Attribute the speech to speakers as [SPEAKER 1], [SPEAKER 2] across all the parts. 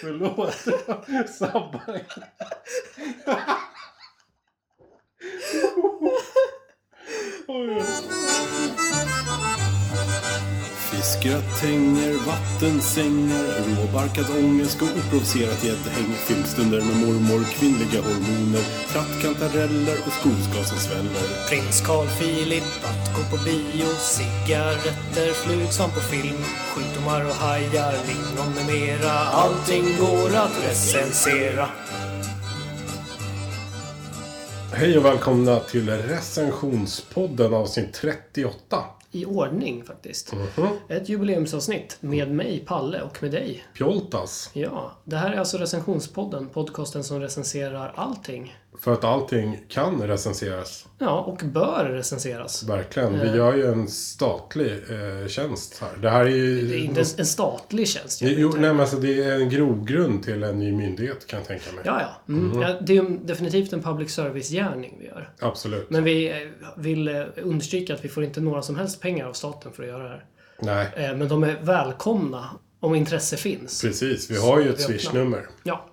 [SPEAKER 1] Förlåt, jag sabbar. Oj, oj.
[SPEAKER 2] Fiskgratänger, vattensängar, råbarkad ångest och oprovocerat gäddhäng. Filmstunder med mormor, kvinnliga hormoner, trattkantareller och skoskav som sväller.
[SPEAKER 3] Prins Carl Philip att gå på bio Cigaretter, flug som på film Sjukdomar och hajar, lingon med mera Allting går att recensera
[SPEAKER 1] Hej och välkomna till recensionspodden avsnitt 38.
[SPEAKER 3] I ordning faktiskt.
[SPEAKER 1] Mhm.
[SPEAKER 3] Ett jubileumsavsnitt med mig, Palle, och med dig.
[SPEAKER 1] Pjoltas.
[SPEAKER 3] Ja, det här är alltså recensionspodden, podcasten som recenserar allting.
[SPEAKER 1] För att allting kan recenseras.
[SPEAKER 3] Ja, och bör recenseras.
[SPEAKER 1] Verkligen. Vi gör ju en statlig eh, tjänst här. Det här är ju...
[SPEAKER 3] Det är inte en statlig tjänst. jag
[SPEAKER 1] Jo,
[SPEAKER 3] vet.
[SPEAKER 1] nej, men alltså, det är en grogrund till en ny myndighet kan jag tänka mig.
[SPEAKER 3] Ja, ja. Mm. ja. Det är ju definitivt en public service-gärning vi gör.
[SPEAKER 1] Absolut.
[SPEAKER 3] Men vi eh, vill eh, understryka att vi får inte några som helst pengar av staten för att göra det här.
[SPEAKER 1] Nej,
[SPEAKER 3] Eh, Men de är välkomna om intresse finns.
[SPEAKER 1] precis. Vi har ju ett
[SPEAKER 3] vi öppnar.
[SPEAKER 1] swishnummer
[SPEAKER 3] Ja,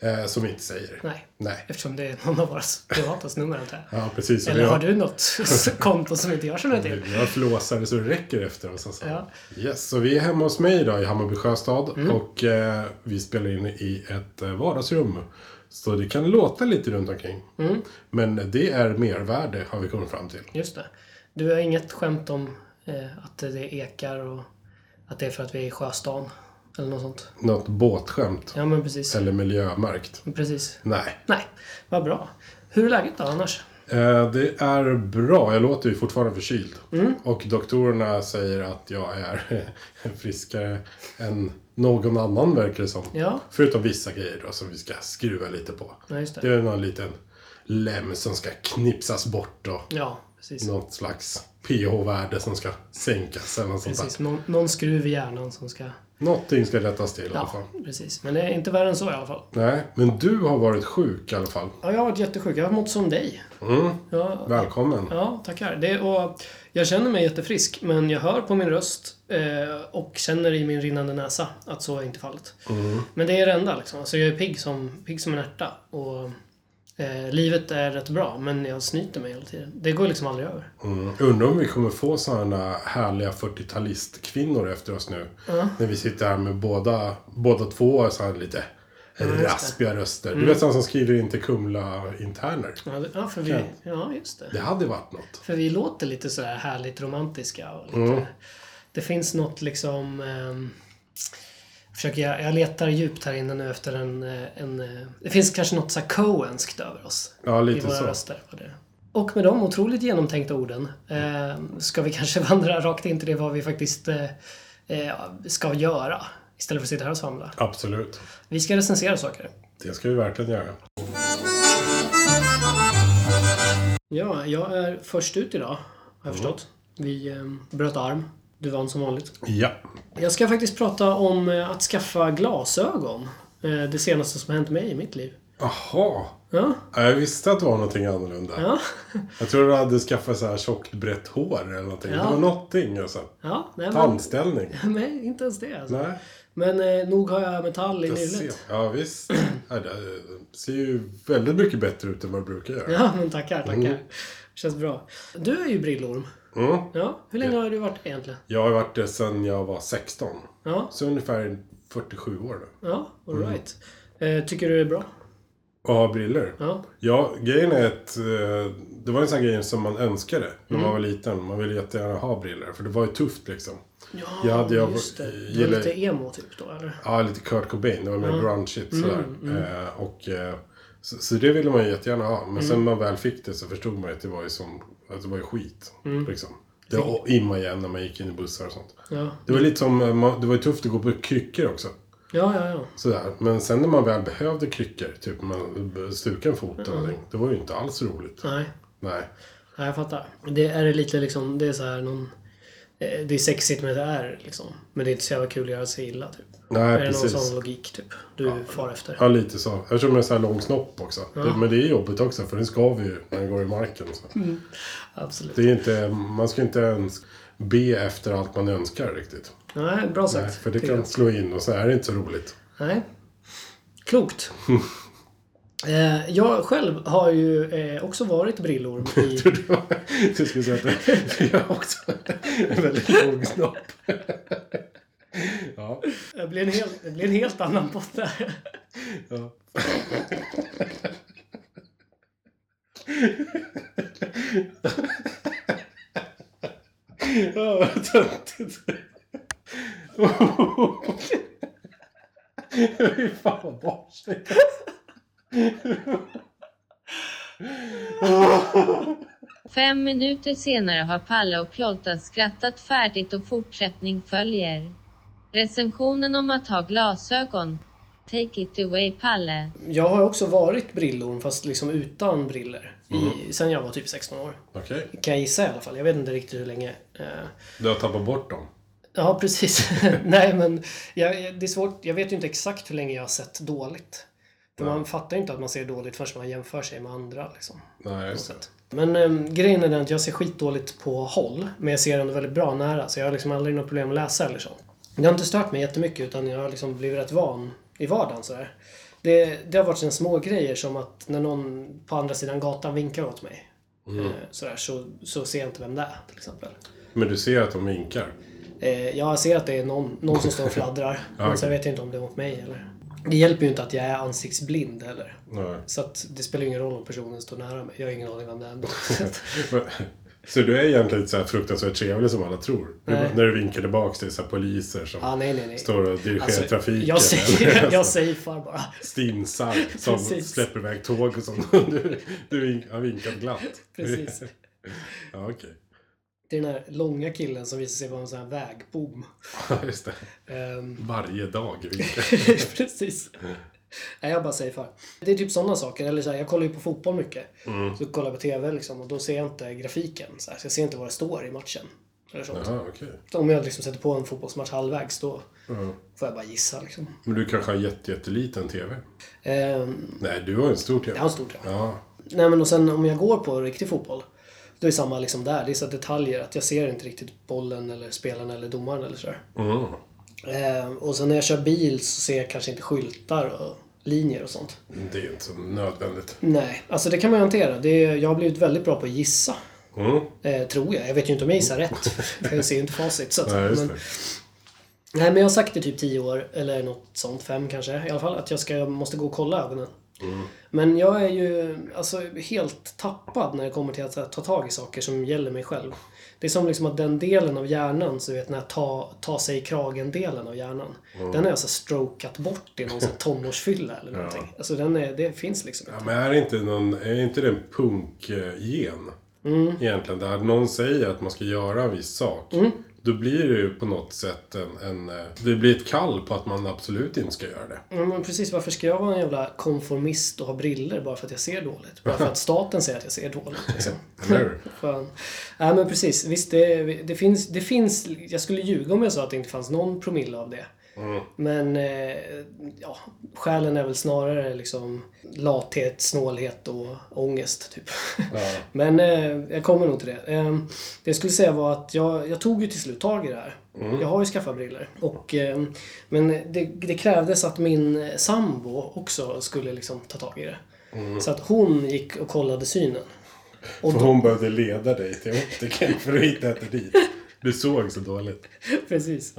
[SPEAKER 1] eh, som vi inte säger.
[SPEAKER 3] nej.
[SPEAKER 1] Nej.
[SPEAKER 3] Eftersom det är någon av våra privatas nummer antar jag.
[SPEAKER 1] Ja, precis. Och
[SPEAKER 3] Eller
[SPEAKER 1] vi
[SPEAKER 3] har du något konto som inte jag känner till?
[SPEAKER 1] Vi har flåsare så det räcker efter oss. Alltså.
[SPEAKER 3] Ja. Mm.
[SPEAKER 1] Yes, så vi är hemma hos mig idag i Hammarby Sjöstad och eh, vi spelar in i ett eh, vardagsrum. Så det kan låta lite runt omkring.
[SPEAKER 3] Mm.
[SPEAKER 1] Men det är mervärde har vi kommit fram till.
[SPEAKER 3] Just det. Du har inget skämt om eh, att det ekar och att det är för att vi är i sjöstan? Eller något sånt?
[SPEAKER 1] Något båtskämt.
[SPEAKER 3] Ja, men precis.
[SPEAKER 1] Eller miljömärkt.
[SPEAKER 3] Precis.
[SPEAKER 1] Nej.
[SPEAKER 3] Nej, vad bra. Hur är läget då annars?
[SPEAKER 1] Eh, det är bra. Jag låter ju fortfarande förkyld.
[SPEAKER 3] Mm.
[SPEAKER 1] Och doktorerna säger att jag är friskare än någon annan verkar det som.
[SPEAKER 3] Ja,
[SPEAKER 1] Förutom vissa grejer då som vi ska skruva lite på.
[SPEAKER 3] ja just det.
[SPEAKER 1] Det är någon liten lem som ska knipsas bort och
[SPEAKER 3] Ja, precis.
[SPEAKER 1] något slags pH-värde som ska sänkas eller något sånt där.
[SPEAKER 3] Precis, någon, någon skruv i hjärnan som ska...
[SPEAKER 1] Någonting ska rättas till i alla fall.
[SPEAKER 3] Ja, precis. Men det är inte värre än så i alla fall.
[SPEAKER 1] Nej, men du har varit sjuk i alla fall.
[SPEAKER 3] Ja, jag har varit jättesjuk. Jag har mått som dig.
[SPEAKER 1] Mm,
[SPEAKER 3] Ja,
[SPEAKER 1] välkommen.
[SPEAKER 3] ja tackar. Det, och jag känner mig jättefrisk, men jag hör på min röst eh, och känner i min rinnande näsa att så är inte fallet. Men det är det enda liksom. Alltså, jag är pigg som, pigg som en ärta. Och, eh, livet är rätt bra, men jag snyter mig hela tiden. Det går liksom aldrig över.
[SPEAKER 1] Mm. Undrar om vi kommer få sådana härliga 40-talistkvinnor efter oss nu. När vi sitter här med båda, båda två har så här lite raspiga röster.
[SPEAKER 3] Mm.
[SPEAKER 1] Du vet sådana som skriver in till Kumla-interner.
[SPEAKER 3] Ja, det- Ja, för vi,
[SPEAKER 1] Skönt.
[SPEAKER 3] ja just det.
[SPEAKER 1] Det hade varit något.
[SPEAKER 3] För vi låter lite sådär härligt romantiska. Och lite,
[SPEAKER 1] Mm.
[SPEAKER 3] Det finns något liksom... ehm, försöker jag, jag letar djupt här inne nu efter en... eh, en eh, det finns kanske något så här coenskt över oss.
[SPEAKER 1] Ja,
[SPEAKER 3] I
[SPEAKER 1] lite
[SPEAKER 3] våra
[SPEAKER 1] så.
[SPEAKER 3] röster. På det. Och med de otroligt genomtänkta orden eh, ska vi kanske vandra rakt in till det vad vi faktiskt eh, eh, ska göra. Istället för att sitta här och svamla.
[SPEAKER 1] Absolut.
[SPEAKER 3] Vi ska recensera saker.
[SPEAKER 1] Det ska vi verkligen göra.
[SPEAKER 3] Ja, jag är först ut idag.
[SPEAKER 1] Mm.
[SPEAKER 3] Har jag förstått. Vi eh, bröt arm. Du vann som vanligt.
[SPEAKER 1] Ja.
[SPEAKER 3] Jag ska faktiskt prata om eh, att skaffa glasögon. Eh, Det senaste som hänt mig i mitt liv.
[SPEAKER 1] Jaha.
[SPEAKER 3] Ja,
[SPEAKER 1] Ja, Jag visste att det var någonting annorlunda.
[SPEAKER 3] ja,
[SPEAKER 1] Jag tror du hade skaffat så här tjockt brett hår eller någonting.
[SPEAKER 3] Ja.
[SPEAKER 1] Det var någonting alltså.
[SPEAKER 3] ja. Nej, men,
[SPEAKER 1] Tandställning.
[SPEAKER 3] nej, inte ens det alltså.
[SPEAKER 1] Nej.
[SPEAKER 3] Men eh, nog har jag metall i
[SPEAKER 1] Jag ser.
[SPEAKER 3] nyllet.
[SPEAKER 1] Ja visst. Ja, Det ser ju väldigt mycket bättre ut än vad det brukar göra.
[SPEAKER 3] Ja, men tackar, tackar.
[SPEAKER 1] Mm.
[SPEAKER 3] Känns bra. Du är ju brillorm.
[SPEAKER 1] Mm.
[SPEAKER 3] Ja, hur länge har du varit egentligen?
[SPEAKER 1] Jag har varit det sedan jag var 16.
[SPEAKER 3] Ja,
[SPEAKER 1] Så ungefär 47 år nu.
[SPEAKER 3] ja,
[SPEAKER 1] Mm.
[SPEAKER 3] alright. Eh, tycker du det är bra?
[SPEAKER 1] Och har briller.
[SPEAKER 3] Ja,
[SPEAKER 1] Ja, grejen är att eh, det var en sån här grej som man önskade när
[SPEAKER 3] Mm.
[SPEAKER 1] man var liten. Man ville jättegärna ha briller för det var ju tufft liksom.
[SPEAKER 3] ja
[SPEAKER 1] Jag hade- jag
[SPEAKER 3] just det. Du är
[SPEAKER 1] gillar-
[SPEAKER 3] lite emo typ då, eller?
[SPEAKER 1] Ja, lite Kurt Cobain. Det var mer grungeigt
[SPEAKER 3] Mm,
[SPEAKER 1] sådär. Eh, och, eh, så, så det ville man ju jättegärna ha.
[SPEAKER 3] Mm.
[SPEAKER 1] Men sen när man väl fick det så förstod man ju att det var ju, som, att det var ju skit.
[SPEAKER 3] Mm.
[SPEAKER 1] Liksom. Det var imma igen när man gick in i bussar och sånt.
[SPEAKER 3] Ja,
[SPEAKER 1] Det var lite som, eh, man, det var ju tufft att gå på kryckor också.
[SPEAKER 3] ja, ja. ja.
[SPEAKER 1] Sådär. Men sen när man väl behövde kryckor, typ man stukade en fot eller någonting. Det var ju inte alls roligt.
[SPEAKER 3] Nej.
[SPEAKER 1] Nej.
[SPEAKER 3] Ja, jag fattar. Det är det lite liksom, det är så här någon... eh, Det är sexigt med det är liksom. Men det är inte så jävla kul att göra sig illa typ.
[SPEAKER 1] Nej,
[SPEAKER 3] är det någon sån
[SPEAKER 1] precis.
[SPEAKER 3] logik typ? Du far efter?
[SPEAKER 1] Ja, lite så. Eftersom jag är så här lång snopp också. Det, men det är jobbigt också, för den skaver ju när den går i marken. Så.
[SPEAKER 3] Absolut.
[SPEAKER 1] Det är inte, man ska inte ens be efter allt man önskar riktigt.
[SPEAKER 3] Nej, bra
[SPEAKER 1] Nej,
[SPEAKER 3] sagt.
[SPEAKER 1] för det
[SPEAKER 3] tycker
[SPEAKER 1] kan slå in och så är det inte så roligt.
[SPEAKER 3] jag. Nej. Klokt. Eh, Jag själv har ju eh, också varit brillorm i...
[SPEAKER 1] Du skulle säga att det- jag har också en väldigt lång snopp. Ja,
[SPEAKER 3] Det blir en, hel, det blir en helt annan pott där.
[SPEAKER 1] ja. Ja, vad töntigt. Fy fan vad barnsligt.
[SPEAKER 4] Fem minuter senare har Palle och Plolta skrattat färdigt och fortsättning följer. Recensionen om att ha glasögon. Take it away Palle.
[SPEAKER 3] Jag har också varit brillorm fast liksom utan briller.
[SPEAKER 1] Mm.
[SPEAKER 3] I, sen jag var typ 16 år.
[SPEAKER 1] Okej,
[SPEAKER 3] Kan jag gissa i alla fall. Jag vet inte riktigt hur länge. Eh,
[SPEAKER 1] du har tappat bort dem.
[SPEAKER 3] Ja, precis. Nej, men jag, jag- det är svårt. Jag vet ju inte exakt hur länge jag har sett dåligt. För man fattar ju inte att man ser dåligt förrän man jämför sig med andra. Liksom,
[SPEAKER 1] Nej,
[SPEAKER 3] på
[SPEAKER 1] just det.
[SPEAKER 3] sätt. Men eh, grejen är den att jag ser skitdåligt på håll, men jag ser ändå väldigt bra nära. Så jag har liksom aldrig något problem att läsa eller så. Det har inte stört mig jättemycket, utan jag har liksom blivit rätt van i vardagen. Sådär. Det, det har varit såna små grejer som att när någon på andra sidan gatan vinkar åt mig, eh, sådär, så, så ser jag inte vem det är till exempel.
[SPEAKER 1] Men du ser att de vinkar.
[SPEAKER 3] Eh, jag ser att det är någon, någon som står och fladdrar.
[SPEAKER 1] okej.
[SPEAKER 3] Men sen vet jag inte om det är mot mig eller... Det hjälper ju inte att jag är ansiktsblind heller.
[SPEAKER 1] Nej.
[SPEAKER 3] Så att det spelar ingen roll om personen står nära mig. Jag har ingen aning vem det är ändå.
[SPEAKER 1] Men- Så du är egentligen inte så här fruktansvärt trevlig som alla tror? Du,
[SPEAKER 3] Nej.
[SPEAKER 1] när du vinkar tillbaka till så här poliser som
[SPEAKER 3] ah, nej, nej, nej.
[SPEAKER 1] står och dirigerar
[SPEAKER 3] Alltså,
[SPEAKER 1] trafiken?
[SPEAKER 3] Jag säger,
[SPEAKER 1] eller
[SPEAKER 3] jag säger far bara.
[SPEAKER 1] Stinsar som
[SPEAKER 3] Precis.
[SPEAKER 1] släpper iväg tåg och sånt. Du, du vink, har vinkat glatt.
[SPEAKER 3] Precis.
[SPEAKER 1] Ja, okej.
[SPEAKER 3] Det är den här långa killen som visar sig vara en sån här vägbom.
[SPEAKER 1] Ja, Just det.
[SPEAKER 3] Ehm,
[SPEAKER 1] Varje dag vinkar.
[SPEAKER 3] Precis. Nej, jag bara säger far. Det är typ sådana saker. Eller så här, jag kollar ju på fotboll mycket. Så kollar jag på TV liksom, och då ser jag inte grafiken. Så, här, så jag ser inte vad det står i matchen. Eller sånt.
[SPEAKER 1] Jaha, okej.
[SPEAKER 3] Om jag liksom sätter på en fotbollsmatch halvvägs då
[SPEAKER 1] Ja.
[SPEAKER 3] får jag bara gissa liksom.
[SPEAKER 1] Men du kanske har jätte, jätteliten TV?
[SPEAKER 3] Ehm,
[SPEAKER 1] Nej, du har en stor TV.
[SPEAKER 3] jag har en stor tröja.
[SPEAKER 1] Ja.
[SPEAKER 3] Nej men och sen om jag går på riktig fotboll. Då är det samma liksom där. Det är så här detaljer att jag ser inte riktigt bollen eller spelaren eller domaren eller sådär.
[SPEAKER 1] Mm.
[SPEAKER 3] Ehm, och sen när jag kör bil så ser jag kanske inte skyltar och linjer och sånt.
[SPEAKER 1] Mm. Det är inte så nödvändigt.
[SPEAKER 3] Nej, alltså det kan man ju hantera. Det är, jag har blivit väldigt bra på att gissa.
[SPEAKER 1] Mm.
[SPEAKER 3] Eh, tror jag. Jag vet ju inte om jag gissar rätt. för Jag ser ju inte facit. Så att,
[SPEAKER 1] Nej, just
[SPEAKER 3] men,
[SPEAKER 1] det.
[SPEAKER 3] Nej, men jag har sagt i typ 10 år, eller något sånt, fem kanske i alla fall, att jag ska, jag måste gå och kolla ögonen.
[SPEAKER 1] Mm.
[SPEAKER 3] Men jag är ju alltså, helt tappad när det kommer till att så här, ta tag i saker som gäller mig själv. Det är som liksom att den delen av hjärnan, så du vet den här ta, ta sig i kragen-delen av hjärnan,
[SPEAKER 1] Mm.
[SPEAKER 3] den har jag så här, strokat bort i någon så här, tonårsfylla eller någonting. Alltså den är, det finns liksom inte.
[SPEAKER 1] Ja, men är det inte, någon, är inte det en punkgen?
[SPEAKER 3] Mm.
[SPEAKER 1] Egentligen, där någon säger att man ska göra en viss sak.
[SPEAKER 3] Mm.
[SPEAKER 1] Då blir det ju på något sätt en, en... eh, Det blir ett kall på att man absolut inte ska göra det.
[SPEAKER 3] Ja, men precis, varför ska jag vara en jävla konformist och ha briller bara för att jag ser dåligt? Bara för att staten säger att jag ser dåligt liksom.
[SPEAKER 1] Eller hur?
[SPEAKER 3] Fan. Nej men precis, visst det, det, finns, det finns, jag skulle ljuga om jag sa att det inte fanns någon promille av det. Men eh, ja, skälen är väl snarare liksom lathet, snålhet och ångest typ. Men eh, jag kommer nog till det. Eh, det jag skulle säga var att jag, jag tog ju till slut tag i det här. Jag har ju skaffat briller. Och, eh, men det, det krävdes att min sambo också skulle liksom ta tag i det. Så att hon gick och kollade synen. Och
[SPEAKER 1] För hon behövde leda dig till optiken för att hitta ett dit. Du såg så dåligt.
[SPEAKER 3] Precis.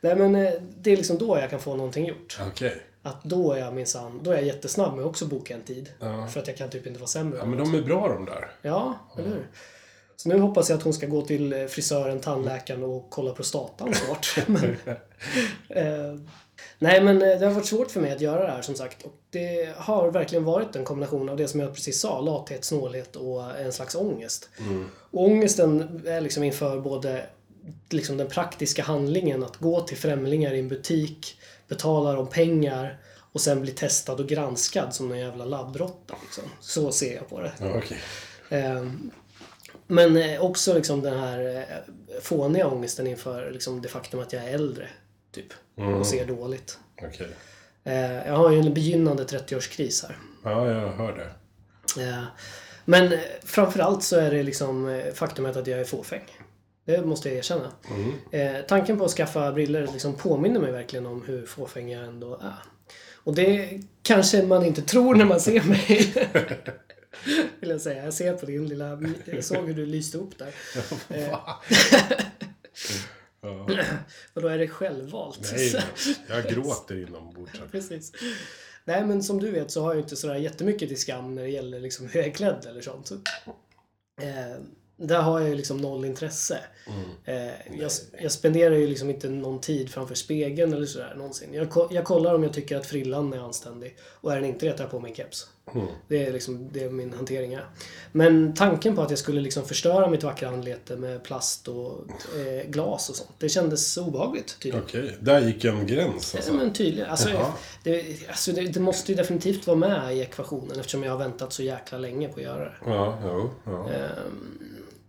[SPEAKER 3] Nej, men eh, det är liksom då jag kan få någonting gjort.
[SPEAKER 1] Okej.
[SPEAKER 3] Att då är jag minsann, då är jag jättesnabb med att också boka en tid. För att jag kan typ inte vara sämre.
[SPEAKER 1] Ja, men de är bra de där.
[SPEAKER 3] Ja, eller hur? Så nu hoppas jag att hon ska gå till eh, frisören, tandläkaren och kolla prostatan snart. men, eh, nej, men eh, det har varit svårt för mig att göra det här som sagt. Och det har verkligen varit en kombination av det som jag precis sa, lathet, snålhet och en slags ångest. Och ångesten är liksom inför både liksom den praktiska handlingen att gå till främlingar i en butik, betala dem pengar och sen bli testad och granskad som en jävla labbrotta. Liksom. Så ser jag på det.
[SPEAKER 1] Ja, Okej.
[SPEAKER 3] Eh, Men eh, också liksom den här eh, fåniga ångesten inför liksom det faktum att jag är äldre. Typ. Och ser dåligt.
[SPEAKER 1] Okej.
[SPEAKER 3] Eh, Jag har ju en begynnande 30-årskris här. Ehm,
[SPEAKER 1] Ja, jag hör det.
[SPEAKER 3] Eh, Men eh, framförallt så är det liksom eh, faktumet att jag är fåfäng. Det Det måste jag erkänna. Eh, tanken på att skaffa briller liksom påminner mig verkligen om hur fåfänga jag ändå är. Och det kanske man inte tror när man ser mig. Vill jag säga. Jag ser på din lilla... Jag såg hur du lyste upp där.
[SPEAKER 1] Ja.
[SPEAKER 3] Och då är det självvalt.
[SPEAKER 1] Nej, jag gråter inombords. här.
[SPEAKER 3] Precis. Nej, men som du vet så har jag inte sådär jättemycket till skam när det gäller liksom hur jag är klädd eller sånt. Eh, där har jag ju liksom noll intresse. Eh, jag, jag spenderar ju liksom inte någon tid framför spegeln eller sådär någonsin. Jag, ko- jag kollar om jag tycker att frillan är anständig. Och är den inte det tar jag på mig en keps. Det är liksom det min hantering är. Men tanken på att jag skulle liksom förstöra mitt vackra anlete med plast och eh, glas och sånt. Det kändes obehagligt tydligen.
[SPEAKER 1] Okej, där gick en gräns
[SPEAKER 3] Ja,
[SPEAKER 1] alltså.
[SPEAKER 3] men tydligen. Alltså,
[SPEAKER 1] Jaha.
[SPEAKER 3] det, alltså det, det måste ju definitivt vara med i ekvationen eftersom jag har väntat så jäkla länge på att göra det.
[SPEAKER 1] Ja, jo, ja.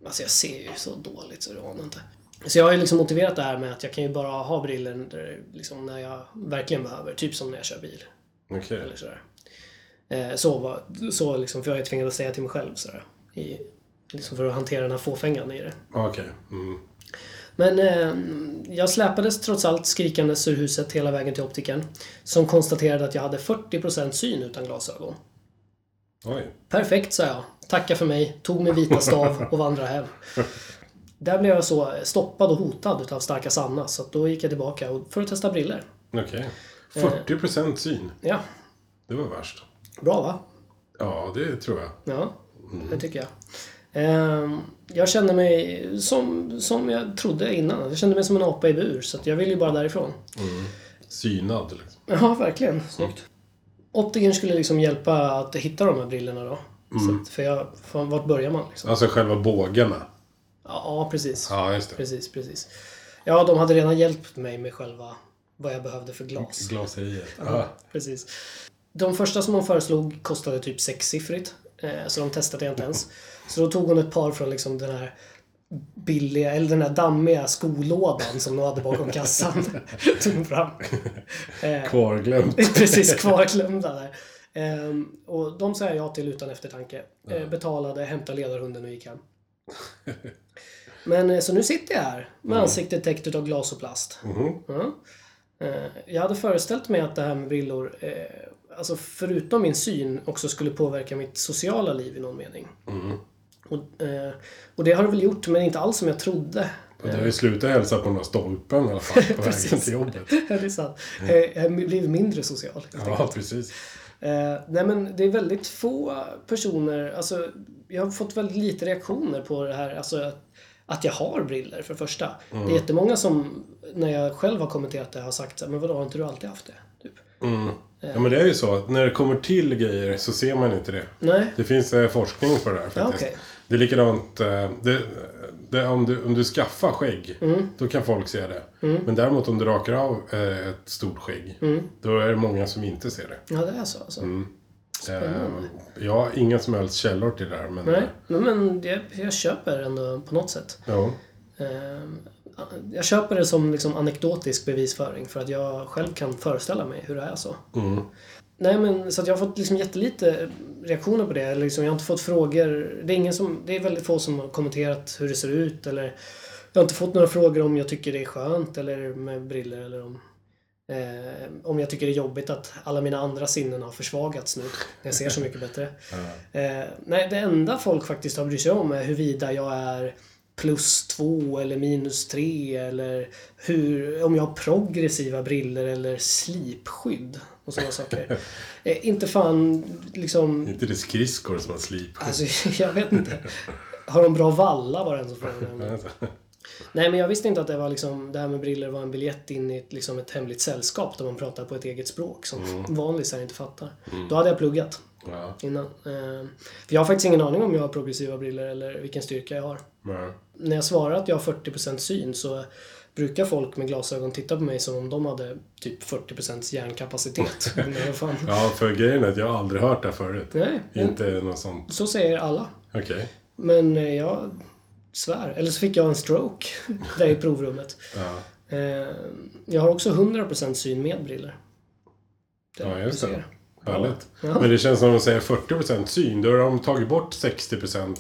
[SPEAKER 3] Alltså jag ser ju så dåligt så det anar inte. Så jag har ju liksom motiverat det här med att jag kan ju bara ha briller liksom när jag verkligen behöver. Typ som när jag kör bil.
[SPEAKER 1] Okej.
[SPEAKER 3] Eller sådär. Eh, Så, var, så liksom, för jag är tvingad att säga till mig själv sådär. I, liksom för att hantera den här fåfängan i det.
[SPEAKER 1] Okej. Mm.
[SPEAKER 3] Men eh, jag släpades trots allt skrikandes ur huset hela vägen till optikern. Som konstaterade att jag hade 40% syn utan glasögon.
[SPEAKER 1] Oj.
[SPEAKER 3] Perfekt, sa jag. Tacka för mig, tog min vita stav och vandrade hem. Där blev jag så stoppad och hotad utav starka Sanna, så att då gick jag tillbaka och- för att testa briller.
[SPEAKER 1] Okej. 40% syn.
[SPEAKER 3] Ja,
[SPEAKER 1] Det var värst.
[SPEAKER 3] bra va?
[SPEAKER 1] Ja, det tror jag.
[SPEAKER 3] Ja, det tycker jag. Ehm, Jag kände mig som, som jag trodde innan. Jag kände mig som en apa i bur, så att jag ville ju bara därifrån.
[SPEAKER 1] Synad liksom.
[SPEAKER 3] Ja, verkligen. Snyggt. Optikern skulle liksom hjälpa att hitta de här brillorna då. Så att, för jag, fan, vart börjar man liksom?
[SPEAKER 1] Alltså själva bågarna.
[SPEAKER 3] Ja, precis.
[SPEAKER 1] Ja, just det.
[SPEAKER 3] Precis, precis. Ja, de hade redan hjälpt mig med själva vad jag behövde för glas.
[SPEAKER 1] Glaseriet. Ah, Ja.
[SPEAKER 3] Precis. De första som hon föreslog kostade typ sexsiffrigt. eh, Så de testade jag inte ens. Så då tog hon ett par från liksom den här billiga, eller den här dammiga skolådan som de hade bakom kassan. tog hon fram. Eh,
[SPEAKER 1] Kvarglömt.
[SPEAKER 3] Precis, kvarglömda där. Ehm, och de sa jag ja till utan eftertanke. Eh, betalade, hämtade ledarhunden och gick hem. Men eh, så nu sitter jag här med ansiktet täckt utav glas och plast. Ja. Eh, jag hade föreställt mig att det här med brillor, eh, alltså förutom min syn, också skulle påverka mitt sociala liv i någon mening. Och, eh, och det har det väl gjort, men inte alls som jag trodde.
[SPEAKER 1] Och Du har ju slutat hälsa på den här stolpen i alla fall på vägen
[SPEAKER 3] Precis.
[SPEAKER 1] till jobbet.
[SPEAKER 3] det är sant. Eh, jag har blivit mindre social.
[SPEAKER 1] Ja, precis.
[SPEAKER 3] Eh, nej men det är väldigt få personer, alltså jag har fått väldigt lite reaktioner på det här, alltså att, att jag har briller för det första. Det är jättemånga som, när jag själv har kommenterat det, har sagt så här, men vadå har inte du alltid haft det? Typ.
[SPEAKER 1] Ja, men det är ju så att när det kommer till grejer så ser man inte det.
[SPEAKER 3] Nej,
[SPEAKER 1] Det finns eh, forskning på det här faktiskt.
[SPEAKER 3] Ja, okej.
[SPEAKER 1] Det är likadant eh, det, det, om, du, om du skaffar skägg,
[SPEAKER 3] Mm.
[SPEAKER 1] då kan folk se det. Men däremot om du rakar av eh, ett stort skägg,
[SPEAKER 3] Mm.
[SPEAKER 1] då är det många som inte ser det.
[SPEAKER 3] ja det är så alltså.
[SPEAKER 1] Eh, jag har inga som helst källor till det här, men... eh,
[SPEAKER 3] Nej, men, men jag, jag köper ändå på något sätt.
[SPEAKER 1] Ja.
[SPEAKER 3] Eh, jag köper det som liksom anekdotisk bevisföring för att jag själv kan föreställa mig hur det är så. Nej, men, så att jag har fått liksom jättelite reaktioner på det. Liksom, jag har inte fått frågor. Det är, ingen som, det är väldigt få som har kommenterat hur det ser ut. Eller, jag har inte fått några frågor om jag tycker det är skönt eller med briller. Eller om, eh, om jag tycker det är jobbigt att alla mina andra sinnen har försvagats nu. När jag ser så mycket bättre. Eh, nej, det enda folk faktiskt har brytt sig om är huruvida jag är plus två eller minus tre eller hur, om jag har progressiva briller eller slipskydd och sådana saker. Eh, inte fan liksom,
[SPEAKER 1] Inte det skridskor som har slip.
[SPEAKER 3] alltså jag vet inte. Har de bra valla var det en som frågade. mig. Nej men jag visste inte att det var liksom, det här med briller var en biljett in i ett, liksom ett hemligt sällskap där man pratar på ett eget språk som vanlisar inte fattar. Då hade jag pluggat
[SPEAKER 1] ja,
[SPEAKER 3] innan. Eh, för jag har faktiskt ingen aning om jag har progressiva briller eller vilken styrka jag har.
[SPEAKER 1] men,
[SPEAKER 3] När jag svarar att jag har 40% syn så brukar folk med glasögon titta på mig som om de hade typ 40% hjärnkapacitet. Men vad fan.
[SPEAKER 1] ja, för grejen är att jag har aldrig hört det här förut.
[SPEAKER 3] Nej,
[SPEAKER 1] Inte något sånt.
[SPEAKER 3] så säger alla.
[SPEAKER 1] Okej.
[SPEAKER 3] Men eh, jag svär. Eller så fick jag en stroke där i provrummet.
[SPEAKER 1] Ja.
[SPEAKER 3] Eh, Jag har också 100% syn med briller.
[SPEAKER 1] Ja, just
[SPEAKER 3] du
[SPEAKER 1] det.
[SPEAKER 3] ser.
[SPEAKER 1] Härligt.
[SPEAKER 3] Ja.
[SPEAKER 1] Men det känns som att de säger 40% syn, då har de tagit bort 60%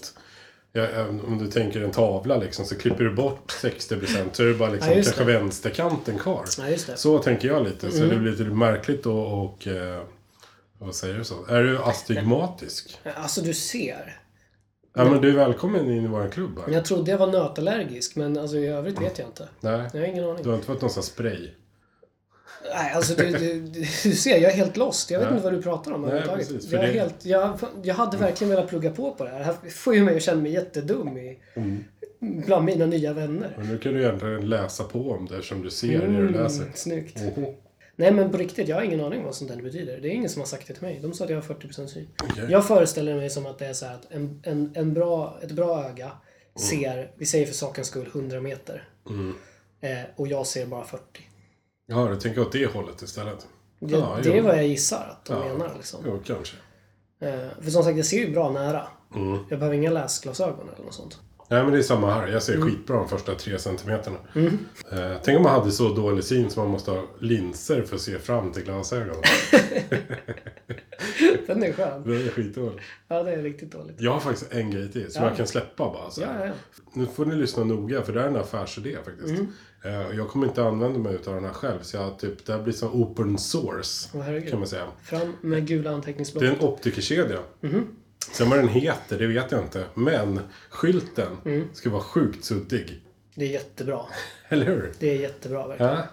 [SPEAKER 1] Ja, om du tänker en tavla liksom, så klipper du bort 60% så är det bara liksom
[SPEAKER 3] Ja, just
[SPEAKER 1] kanske
[SPEAKER 3] det.
[SPEAKER 1] vänsterkanten kvar.
[SPEAKER 3] Ja, just det. Mm.
[SPEAKER 1] Så tänker jag lite, så det blir lite märkligt då och... Eh, vad säger du så? Är du astigmatisk?
[SPEAKER 3] Alltså du ser.
[SPEAKER 1] Ja, men du är välkommen in i vår klubb här.
[SPEAKER 3] Jag trodde jag var nötallergisk men alltså, i övrigt vet jag inte.
[SPEAKER 1] Nej,
[SPEAKER 3] Jag har ingen aning.
[SPEAKER 1] du har inte fått någon sån här spray?
[SPEAKER 3] Nej, alltså du, du, du ser, jag är helt lost. Jag vet inte vad du pratar om
[SPEAKER 1] Nej,
[SPEAKER 3] överhuvudtaget.
[SPEAKER 1] precis, för
[SPEAKER 3] jag, är
[SPEAKER 1] det-
[SPEAKER 3] helt, jag, jag hade verkligen velat plugga på på det här. Det här får ju mig att känna mig jättedum i,
[SPEAKER 1] Mm.
[SPEAKER 3] bland mina nya vänner.
[SPEAKER 1] Men nu kan du egentligen läsa på om det eftersom du ser det du
[SPEAKER 3] Mm.
[SPEAKER 1] läser.
[SPEAKER 3] snyggt.
[SPEAKER 1] Oho.
[SPEAKER 3] Nej men på riktigt, jag har ingen aning vad sånt där betyder. Det är ingen som har sagt det till mig. De sa att jag har 40% syn.
[SPEAKER 1] Okej.
[SPEAKER 3] Jag föreställer mig som att det är så här att en, en, en bra, ett bra öga
[SPEAKER 1] Mm.
[SPEAKER 3] ser, vi säger för sakens skull, 100 meter. Eh, och jag ser bara 40.
[SPEAKER 1] Ja, du tänker åt det hållet istället?
[SPEAKER 3] Det,
[SPEAKER 1] ja,
[SPEAKER 3] det är
[SPEAKER 1] jo.
[SPEAKER 3] vad jag gissar att de
[SPEAKER 1] Ja.
[SPEAKER 3] menar liksom.
[SPEAKER 1] Jo, kanske.
[SPEAKER 3] Eh, för som sagt, jag ser ju bra nära.
[SPEAKER 1] Mm.
[SPEAKER 3] Jag behöver inga läsglasögon eller något sånt.
[SPEAKER 1] Nej, men det är samma här. Jag ser
[SPEAKER 3] Mm.
[SPEAKER 1] skitbra de första tre centimeterna. Eh, tänk om man hade så dålig syn så man måste ha linser för att se fram till glasögonen.
[SPEAKER 3] Den är skön.
[SPEAKER 1] det är skitdåligt.
[SPEAKER 3] Ja, det är riktigt dåligt.
[SPEAKER 1] Jag har faktiskt en grej till som
[SPEAKER 3] Ja.
[SPEAKER 1] jag kan släppa bara. Så
[SPEAKER 3] Ja,
[SPEAKER 1] här.
[SPEAKER 3] ja, ja.
[SPEAKER 1] Nu får ni lyssna noga för det här är en affärsidé faktiskt.
[SPEAKER 3] Mm.
[SPEAKER 1] Eh, och jag kommer inte använda mig av den här själv så jag, typ, det här blir som open source.
[SPEAKER 3] Åh, herregud.
[SPEAKER 1] kan man säga.
[SPEAKER 3] Fram med gula
[SPEAKER 1] Det är
[SPEAKER 3] anteckningsblock.
[SPEAKER 1] en optikerkedja.
[SPEAKER 3] Mm-hmm.
[SPEAKER 1] Sen vad den heter, det vet jag inte. Men skylten
[SPEAKER 3] Mm.
[SPEAKER 1] ska vara sjukt suddig.
[SPEAKER 3] Det är jättebra.
[SPEAKER 1] Eller hur?
[SPEAKER 3] Det är jättebra verkligen.
[SPEAKER 1] Ja.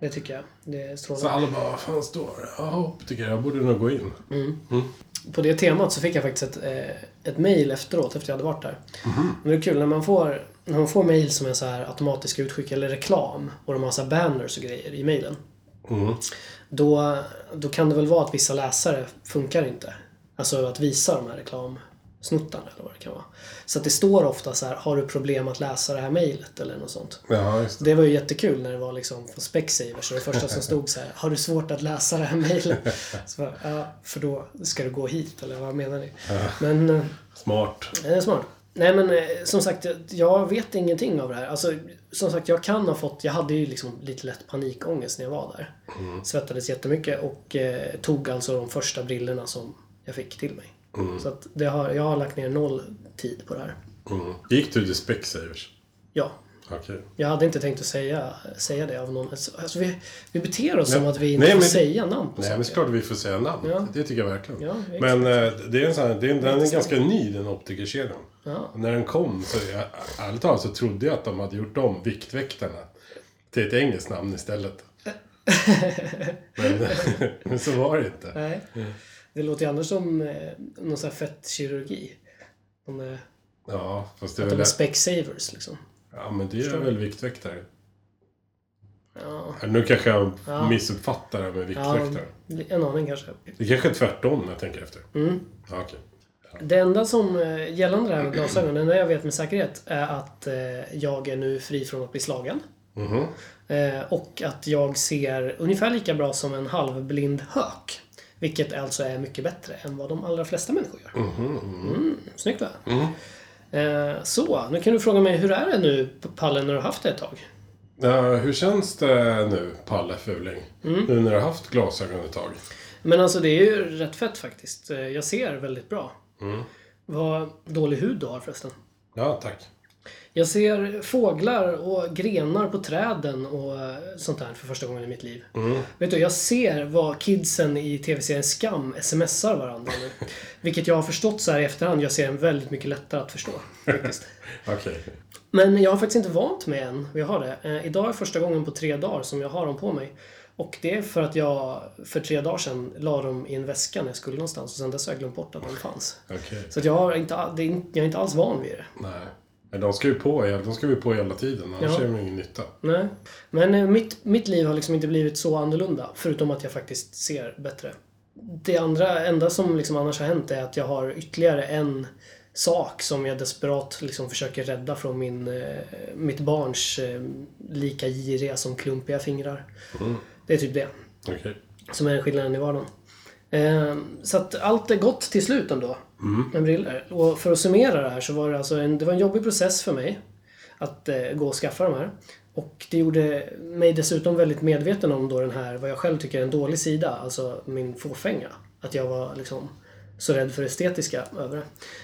[SPEAKER 3] Det tycker jag. Det är
[SPEAKER 1] Så
[SPEAKER 3] strålande.
[SPEAKER 1] alla bara, vad fan står det? Ja, optiker, jag borde nog gå in.
[SPEAKER 3] På det temat så fick jag faktiskt ett, eh, ett mejl efteråt, efter jag hade varit där. Men det är kul när man får, när man får mejl som är så här automatiska utskick eller reklam och de har så här banners och grejer i mejlen. Då, då kan det väl vara att vissa läsare funkar inte. Alltså att visa de här reklamsnuttarna eller vad det kan vara. Så att det står ofta så här, har du problem att läsa det här mejlet eller något sånt.
[SPEAKER 1] Ja, just det.
[SPEAKER 3] Det var ju jättekul när det var liksom på Specsavers så det första som stod så här Har du svårt att läsa det här mejlet? Så bara, Ja, för då ska du gå hit eller vad menar ni? Men eh,
[SPEAKER 1] Smart.
[SPEAKER 3] det är smart. Nej men eh, som sagt, jag vet ingenting av det här. Alltså, som sagt, jag kan ha fått, jag hade ju liksom lite lätt panikångest när jag var där. Svettades jättemycket och eh, tog alltså de första brillorna som jag fick till mig. Så att det har, jag har lagt ner noll tid på det här.
[SPEAKER 1] Mm. Gick du till Specsavers?
[SPEAKER 3] Ja,
[SPEAKER 1] Okej.
[SPEAKER 3] jag hade inte tänkt att säga, säga det av någon. Alltså, vi, vi beter oss
[SPEAKER 1] Nej.
[SPEAKER 3] som att vi inte
[SPEAKER 1] Nej,
[SPEAKER 3] får
[SPEAKER 1] men-
[SPEAKER 3] säga namn på
[SPEAKER 1] Nej, men
[SPEAKER 3] saker.
[SPEAKER 1] såklart vi får säga namn.
[SPEAKER 3] Ja.
[SPEAKER 1] Det tycker jag verkligen.
[SPEAKER 3] Ja, exakt.
[SPEAKER 1] men eh, det är en sån här, det är, en- den är ganska ny, den optikerkedjan.
[SPEAKER 3] Ja.
[SPEAKER 1] När den kom, så jag, ärligt talat, så trodde jag att de hade gjort om Viktväktarna till ett engelskt namn istället. men, men så var det inte.
[SPEAKER 3] Nej. Det låter ju annars som eh, någon sån här fettkirurgi. De är,
[SPEAKER 1] Ja, fast det är
[SPEAKER 3] de
[SPEAKER 1] väl...
[SPEAKER 3] är specsavers liksom.
[SPEAKER 1] Ja, men det är väl Viktväktare.
[SPEAKER 3] Ja,
[SPEAKER 1] Nu kanske jag
[SPEAKER 3] Ja.
[SPEAKER 1] missuppfattar det här med
[SPEAKER 3] ja,
[SPEAKER 1] Viktväktare.
[SPEAKER 3] en aning kanske. Mm.
[SPEAKER 1] Det kanske är tvärtom när jag tänker efter. Ja, okej.
[SPEAKER 3] Det enda som eh, gällande det här med glasögon, det enda jag vet med säkerhet är att eh, jag är nu fri från att bli slagen.
[SPEAKER 1] Mhm.
[SPEAKER 3] Eh, Och att jag ser ungefär lika bra som en halvblind hök. Vilket alltså är mycket bättre än vad de allra flesta människor gör. Mm, snyggt va? Eh, Så, nu kan du fråga mig hur är det nu Palle när du har haft det ett tag?
[SPEAKER 1] Ja, hur känns det nu, Palle Fuling?
[SPEAKER 3] Mm.
[SPEAKER 1] Nu när du har haft glasögon ett tag?
[SPEAKER 3] Men alltså det är ju rätt fett faktiskt. Eh, Jag ser väldigt bra. Vad dålig hud du har förresten.
[SPEAKER 1] Ja, tack.
[SPEAKER 3] Jag ser fåglar och grenar på träden och eh, sånt där för första gången i mitt liv. Vet du, jag ser vad kidsen i tv-serien Skam smsar varandra nu. Vilket jag har förstått så här i efterhand, jag ser den väldigt mycket lättare att förstå. Faktiskt.
[SPEAKER 1] Okej.
[SPEAKER 3] Men jag har faktiskt inte vant mig än vid att ha det. Eh, idag är första gången på tre dagar som jag har dem på mig. Och det är för att jag för tre dagar sedan la dem i en väska när jag skulle någonstans och sen dess har jag glömt bort att de fanns.
[SPEAKER 1] Okej.
[SPEAKER 3] Så att jag, har inte, all- det är inte- jag är inte alls van vid det.
[SPEAKER 1] Nej. Men de ska ju på, de ska vi på hela tiden, annars
[SPEAKER 3] Ja.
[SPEAKER 1] är de ingen nytta.
[SPEAKER 3] Nej. Men eh, mitt, mitt liv har liksom inte blivit så annorlunda, förutom att jag faktiskt ser bättre. Det andra, enda som liksom annars har hänt är att jag har ytterligare en sak som jag desperat liksom försöker rädda från min, eh, mitt barns eh, lika giriga som klumpiga fingrar. Det är typ det
[SPEAKER 1] Okej.
[SPEAKER 3] som är skillnaden i vardagen. Eh, så att allt är gott till slut ändå. Med briller. Och för att summera det här så var det alltså en, det var en jobbig process för mig att eh, gå och skaffa de här. Och det gjorde mig dessutom väldigt medveten om då den här, vad jag själv tycker är en dålig sida, alltså min fåfänga. Att jag var liksom så rädd för det estetiska över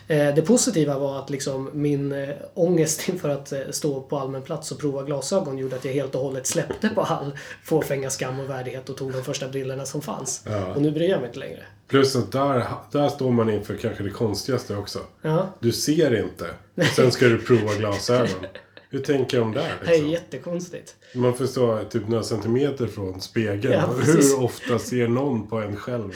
[SPEAKER 3] det. Eh, Det positiva var att liksom min eh, ångest inför att eh, stå på allmän plats och prova glasögon gjorde att jag helt och hållet släppte på all fåfänga skam och värdighet och tog de första brillorna som fanns. Och nu bryr jag mig inte längre.
[SPEAKER 1] Plus att där, där står man inför kanske det konstigaste också.
[SPEAKER 3] Ja.
[SPEAKER 1] Du ser inte. Sen ska du prova glasögon. Hur tänker de där?
[SPEAKER 3] Det här är
[SPEAKER 1] Liksom?
[SPEAKER 3] jättekonstigt.
[SPEAKER 1] Man får stå typ några centimeter från spegeln.
[SPEAKER 3] Ja, precis.
[SPEAKER 1] Hur ofta ser någon på en själv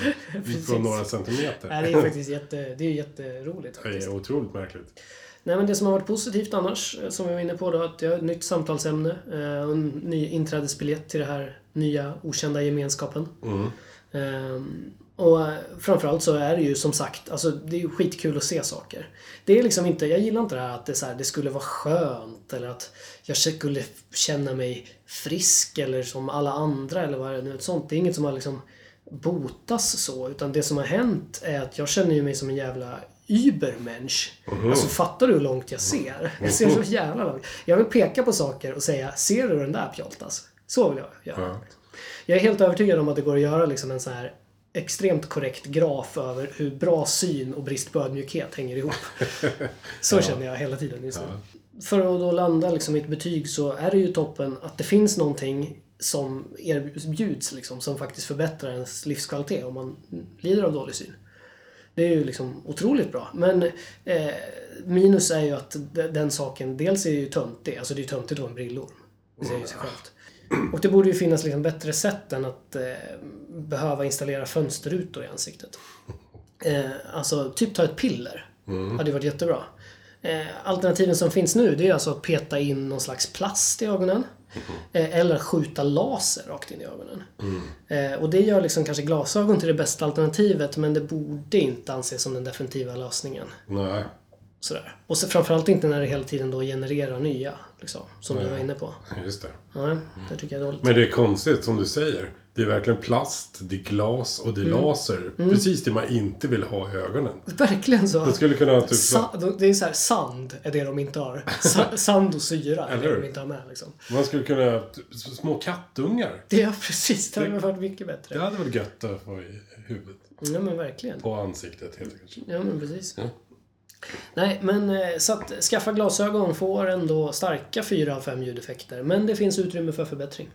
[SPEAKER 1] från några centimeter?
[SPEAKER 3] Nej, det är faktiskt jätte, det är ju jätteroligt
[SPEAKER 1] Det
[SPEAKER 3] faktiskt.
[SPEAKER 1] är otroligt märkligt.
[SPEAKER 3] Nej, men det som har varit positivt annars, eh, som vi var inne på då, att jag har ett nytt samtalsämne eh, och en ny inträdesbiljett till den här nya okända gemenskapen. Ehm, och eh, framförallt så är det ju som sagt, alltså det är ju skitkul att se saker. Det är liksom inte, jag gillar inte det här att det, är så här, det skulle vara skönt eller att jag skulle känna mig frisk eller som alla andra eller vad det nu är. Sånt. Det är inget som har liksom botas så, utan det som har hänt är att jag känner ju mig som en jävla übermensch. Alltså fattar du hur långt jag ser? Jag ser så jävla långt. Jag vill peka på saker och säga, ser du den där pjoltas? Så vill jag göra. Jag är helt övertygad om att det går att göra liksom en så här extremt korrekt graf över hur bra syn och brist på ödmjukhet hänger ihop. Så känner jag hela tiden just nu. För att då landa liksom i ett betyg så är det ju toppen att det finns någonting som erbjuds liksom, som faktiskt förbättrar ens livskvalitet om man lider av dålig syn. Det är ju liksom otroligt bra. Men eh, minus är ju att de- den saken, dels är det ju töntig, alltså det är ju töntigt att vara en brillorm. Det säger ju sig självt. Och det borde ju finnas liksom bättre sätt än att eh, behöva installera fönsterrutor i ansiktet. Eh, alltså, typ ta ett piller. Hade ju varit jättebra. Eh, alternativen som finns nu, det är alltså att peta in någon slags plast i ögonen. Eh, eller skjuta laser rakt in i ögonen. Eh, och det gör liksom kanske glasögon till det bästa alternativet, men det borde inte anses som den definitiva lösningen.
[SPEAKER 1] Nej.
[SPEAKER 3] Sådär. Och så framförallt inte när det hela tiden då genererar nya, liksom, som du var inne på.
[SPEAKER 1] Just det.
[SPEAKER 3] Nej, det tycker jag är dåligt.
[SPEAKER 1] Men det är konstigt som du säger. Det är verkligen plast, det är glas och det är
[SPEAKER 3] Mm.
[SPEAKER 1] laser. Precis det man inte vill ha i ögonen.
[SPEAKER 3] Verkligen så.
[SPEAKER 1] Man skulle kunna ha typ...
[SPEAKER 3] Sa- de- det är så här, sand är det de inte har. Sa- sand och syra är
[SPEAKER 1] Eller
[SPEAKER 3] det
[SPEAKER 1] hur?
[SPEAKER 3] de inte har med. Liksom.
[SPEAKER 1] Man skulle kunna ha typ s- små kattungar.
[SPEAKER 3] Det är precis, det hade varit mycket bättre.
[SPEAKER 1] Det hade varit gött att få i huvudet.
[SPEAKER 3] Ja men verkligen.
[SPEAKER 1] På ansiktet helt enkelt.
[SPEAKER 3] Ja men precis. Nej men eh, så att skaffa glasögon får ändå starka 4 av 5 ljudeffekter. Men det finns utrymme för förbättring.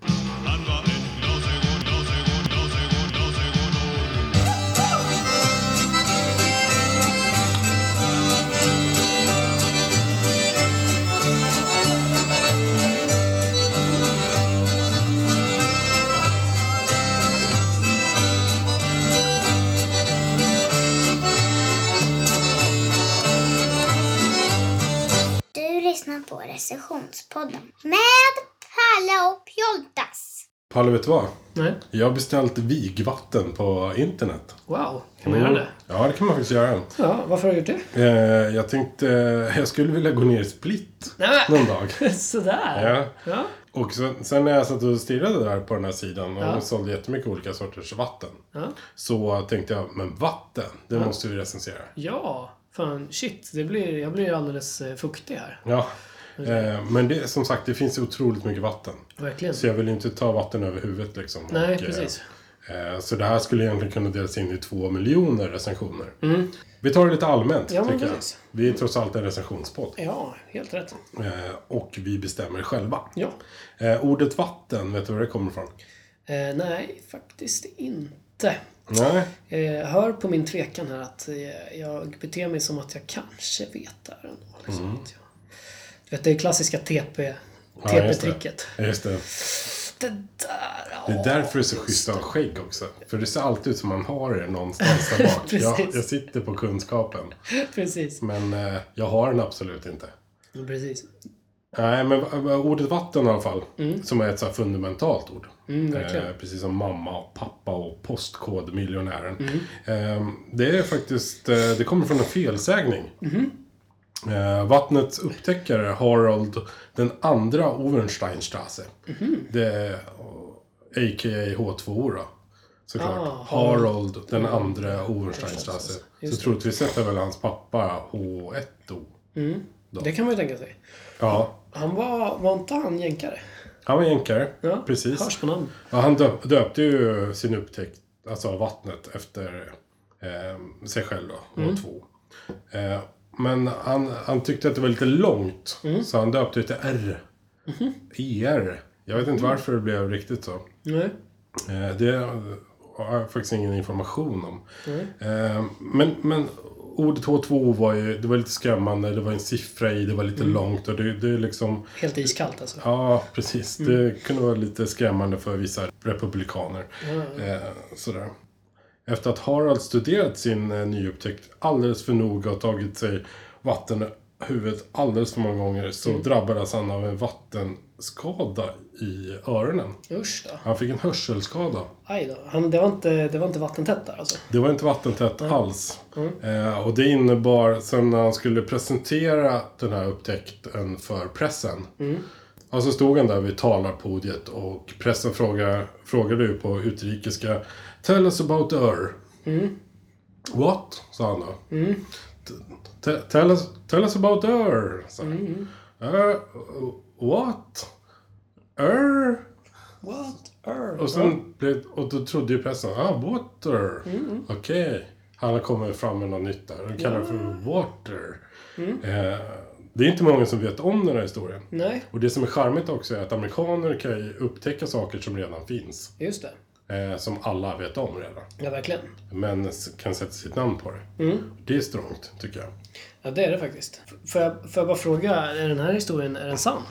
[SPEAKER 5] Du lyssnar på Recessionspodden med Palle och Pjoltas.
[SPEAKER 1] Palle, vet du vad?
[SPEAKER 3] Nej.
[SPEAKER 1] Jag har beställt vigvatten på internet. Mm.
[SPEAKER 3] Wow, kan man göra det?
[SPEAKER 1] Ja, det kan man faktiskt göra.
[SPEAKER 3] Ja, varför har du gjort det?
[SPEAKER 1] Eh, jag tänkte... eh, Jag skulle vilja gå ner i split
[SPEAKER 3] Nej, men-
[SPEAKER 1] någon dag.
[SPEAKER 3] Sådär.
[SPEAKER 1] Ja.
[SPEAKER 3] Ja.
[SPEAKER 1] Och sen, sen när jag satt och stirrade där på den här sidan och
[SPEAKER 3] Ja.
[SPEAKER 1] sålde jättemycket olika sorters vatten.
[SPEAKER 3] Ja.
[SPEAKER 1] Så tänkte jag, men vatten, det måste vi recensera.
[SPEAKER 3] ja, fan shit. Det blir, jag blir alldeles eh, fuktig här.
[SPEAKER 1] Ja. Eh, men det, som sagt, det finns ju otroligt mycket vatten.
[SPEAKER 3] Verkligen.
[SPEAKER 1] Så jag vill ju inte ta vatten över huvudet liksom.
[SPEAKER 3] Nej,
[SPEAKER 1] Och, eh,
[SPEAKER 3] precis.
[SPEAKER 1] Eh, så det här skulle egentligen kunna delas in i två miljoner recensioner. Vi tar det lite allmänt,
[SPEAKER 3] Mm. Ja, men
[SPEAKER 1] tycker jag.
[SPEAKER 3] precis.
[SPEAKER 1] Vi är trots allt en recensionspodd.
[SPEAKER 3] Ja, helt rätt.
[SPEAKER 1] Eh, och vi bestämmer själva.
[SPEAKER 3] Ja.
[SPEAKER 1] Eh, ordet vatten, vet du var det kommer ifrån?
[SPEAKER 3] Eh, nej, faktiskt inte.
[SPEAKER 1] Nej.
[SPEAKER 3] Eh, hör på min tvekan här att eh, jag beter mig som att jag kanske vet det här ändå. Liksom, att jag, du vet, det är klassiska TP,
[SPEAKER 1] Mm. Ja, just det.
[SPEAKER 3] TP-tricket.
[SPEAKER 1] Just det.
[SPEAKER 3] det. där, ja.
[SPEAKER 1] Det är därför det är så schysst att ha skägg också. För det ser alltid ut som man har det någonstans där bak. jag,
[SPEAKER 3] Precis.
[SPEAKER 1] jag sitter på kunskapen.
[SPEAKER 3] Precis.
[SPEAKER 1] Men eh, jag har den absolut inte.
[SPEAKER 3] Precis.
[SPEAKER 1] Nej, men va- va- ordet vatten i alla fall. Som är ett så här fundamentalt ord.
[SPEAKER 3] Mm.
[SPEAKER 1] Eh,
[SPEAKER 3] verkligen.
[SPEAKER 1] precis som mamma och pappa och postkodmiljonären.
[SPEAKER 3] Mm.
[SPEAKER 1] Eh, det är faktiskt, eh, det kommer från en felsägning.
[SPEAKER 3] Mm-hmm.
[SPEAKER 1] Eh, vattnets upptäckare Harald den andra Ovensteinstrasse.
[SPEAKER 3] Mm-hmm.
[SPEAKER 1] Det är eh, a.k.a. H2O då. Såklart.
[SPEAKER 3] Ah,
[SPEAKER 1] Harald den andra Ovensteinstrasse. Så troligtvis heter väl hans pappa H1O.
[SPEAKER 3] Det kan man ju tänka sig.
[SPEAKER 1] Ja,
[SPEAKER 3] Han var, var inte han jänkare?
[SPEAKER 1] han var jänkare.
[SPEAKER 3] Ja,
[SPEAKER 1] Precis.
[SPEAKER 3] Hörs på namn.
[SPEAKER 1] Ja, han döp, döpte ju sin upptäckt, alltså vattnet, efter eh, sig själv då, och två. Eh, men han, han tyckte att det var lite långt, så han döpte det till R. ER. Jag vet inte varför det blev riktigt så.
[SPEAKER 3] Nej.
[SPEAKER 1] Eh, Det har jag faktiskt ingen information om. Eh, Men, men ordet H2O var ju, det var lite skrämmande, det var en siffra i, det var lite långt och det, det är liksom,
[SPEAKER 3] Helt iskallt alltså.
[SPEAKER 1] ja precis, det kunde vara lite skrämmande för vissa republikaner. Eh, Sådär. Efter att Harald studerat sin eh, nyupptäckt alldeles för noga och tagit sig vatten i huvudet alldeles för många gånger så drabbades han av en vattenskada i öronen.
[SPEAKER 3] Usch då.
[SPEAKER 1] Han fick en hörselskada.
[SPEAKER 3] Aj då. Han, det, var inte, det var inte vattentätt där alltså.
[SPEAKER 1] Det var inte vattentätt alls. Eh, och det innebar, sen när han skulle presentera den här upptäckten för pressen. Ja, så stod han där vid talarpodiet och pressen frågade, frågade ju på utrikiska Tell us about the Ur. What? sa han då. "T- t- Tell us, tell us about the Ur. sa han. "Eh, what? Ur?
[SPEAKER 3] What? Earth?
[SPEAKER 1] Och, sen blev, och då trodde ju pressen, ah, water.
[SPEAKER 3] Mm.
[SPEAKER 1] Okej. Han har kommit fram med något nytt där. De kallar det för water.
[SPEAKER 3] Mm.
[SPEAKER 1] Eh, det är inte många som vet om den här historien.
[SPEAKER 3] Nej,
[SPEAKER 1] Och det som är charmigt också är att amerikaner kan ju upptäcka saker som redan finns.
[SPEAKER 3] just det.
[SPEAKER 1] Eh, som alla vet om redan.
[SPEAKER 3] Ja, verkligen.
[SPEAKER 1] Men s- kan sätta sitt namn på det.
[SPEAKER 3] Mm.
[SPEAKER 1] Det är strångt, tycker jag.
[SPEAKER 3] Ja, det är det faktiskt. F- Får jag, får jag bara fråga, är den här historien är den sann?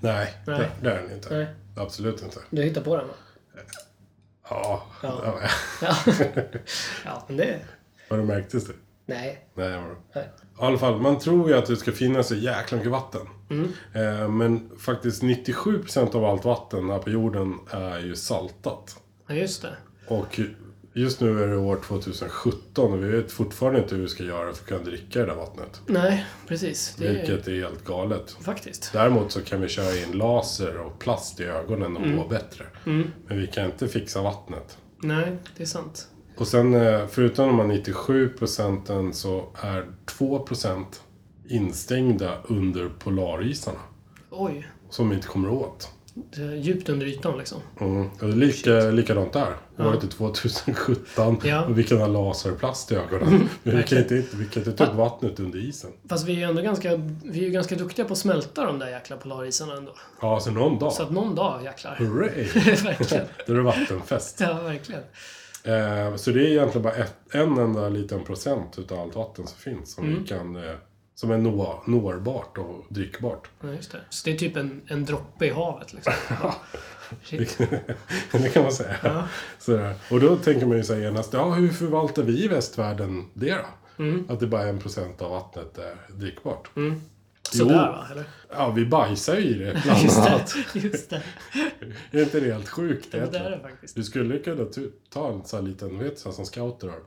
[SPEAKER 1] Nej,
[SPEAKER 3] Nej.
[SPEAKER 1] Det, det är den inte.
[SPEAKER 3] Nej.
[SPEAKER 1] Absolut inte.
[SPEAKER 3] Du hittar på den va?
[SPEAKER 1] Ja,
[SPEAKER 3] Ja.
[SPEAKER 1] ja.
[SPEAKER 3] Ja. ja, men det...
[SPEAKER 1] har du märkt det?
[SPEAKER 3] Nej.
[SPEAKER 1] Nej, vad bra.
[SPEAKER 3] Nej.
[SPEAKER 1] I alla fall, man tror ju att det ska finnas så jäkla mycket vatten.
[SPEAKER 3] Mm.
[SPEAKER 1] Eh, men faktiskt 97% av allt vatten här på jorden är ju saltat.
[SPEAKER 3] Ja, just det.
[SPEAKER 1] Och just nu är det år 2017 och vi vet fortfarande inte hur vi ska göra för att kunna dricka det där vattnet.
[SPEAKER 3] Nej, precis. Det är...
[SPEAKER 1] Vilket är helt galet.
[SPEAKER 3] Faktiskt.
[SPEAKER 1] Däremot så kan vi köra in laser och plast i ögonen
[SPEAKER 3] Mm.
[SPEAKER 1] och må bättre. Men vi kan inte fixa vattnet.
[SPEAKER 3] Nej, det är sant.
[SPEAKER 1] Och sen eh, förutom de här 97 procenten så är 2 procent instängda under polarisarna.
[SPEAKER 3] Oj.
[SPEAKER 1] Som vi inte kommer åt.
[SPEAKER 3] Det är djupt under ytan liksom.
[SPEAKER 1] Mm. Och det är lika, likadant där. Året är 2017
[SPEAKER 3] Oh, Ja. Mm.
[SPEAKER 1] och vi kan ha laserplast i ögonen. Men vi kan inte, vi kan inte ta upp vattnet under isen.
[SPEAKER 3] Fast vi är ju ändå ganska, vi är ju ganska duktiga på att smälta de där jäkla polarisarna ändå.
[SPEAKER 1] Ja, så någon dag.
[SPEAKER 3] Så att någon dag jäklar.
[SPEAKER 1] Hurray!
[SPEAKER 3] verkligen.
[SPEAKER 1] Då är det vattenfest.
[SPEAKER 3] Ja, verkligen.
[SPEAKER 1] Eh, så det är egentligen bara ett, en enda liten procent utav allt vatten som finns. Som,
[SPEAKER 3] Mm.
[SPEAKER 1] vi kan, eh, som är nå, nårbart och drickbart.
[SPEAKER 3] Ja, just det. Så det är typ en, en droppe i havet liksom. Ja. Shit.
[SPEAKER 1] det kan man säga. Sådär. Och då tänker man ju sig genast, ja hur förvaltar vi i västvärlden det då?
[SPEAKER 3] Mm.
[SPEAKER 1] Att det bara är en procent av vattnet är drickbart.
[SPEAKER 3] Sådär va? Eller?
[SPEAKER 1] Ja, vi bajsar ju i det bland annat.
[SPEAKER 3] Just det.
[SPEAKER 1] Är inte det helt sjukt
[SPEAKER 3] Det där är
[SPEAKER 1] egentligen?
[SPEAKER 3] det faktiskt.
[SPEAKER 1] Du skulle kunna tu- ta en sån här liten, vet du så här som scouter har?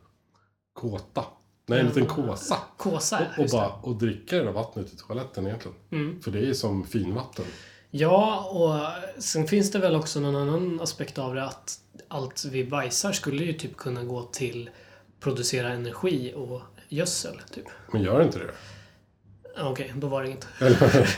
[SPEAKER 1] Kåta. Nej, en liten kåsa.
[SPEAKER 3] Kåsa, ja,
[SPEAKER 1] Och,
[SPEAKER 3] just det. Mm.
[SPEAKER 1] bara, och dricka det där vattnet i toaletten egentligen. För det är som finvatten.
[SPEAKER 3] Ja, och sen finns det väl också någon annan aspekt av det att allt vi bajsar skulle ju typ kunna gå till producera energi och gödsel, typ.
[SPEAKER 1] Men gör inte det.
[SPEAKER 3] Ja, Okej, då var det inget.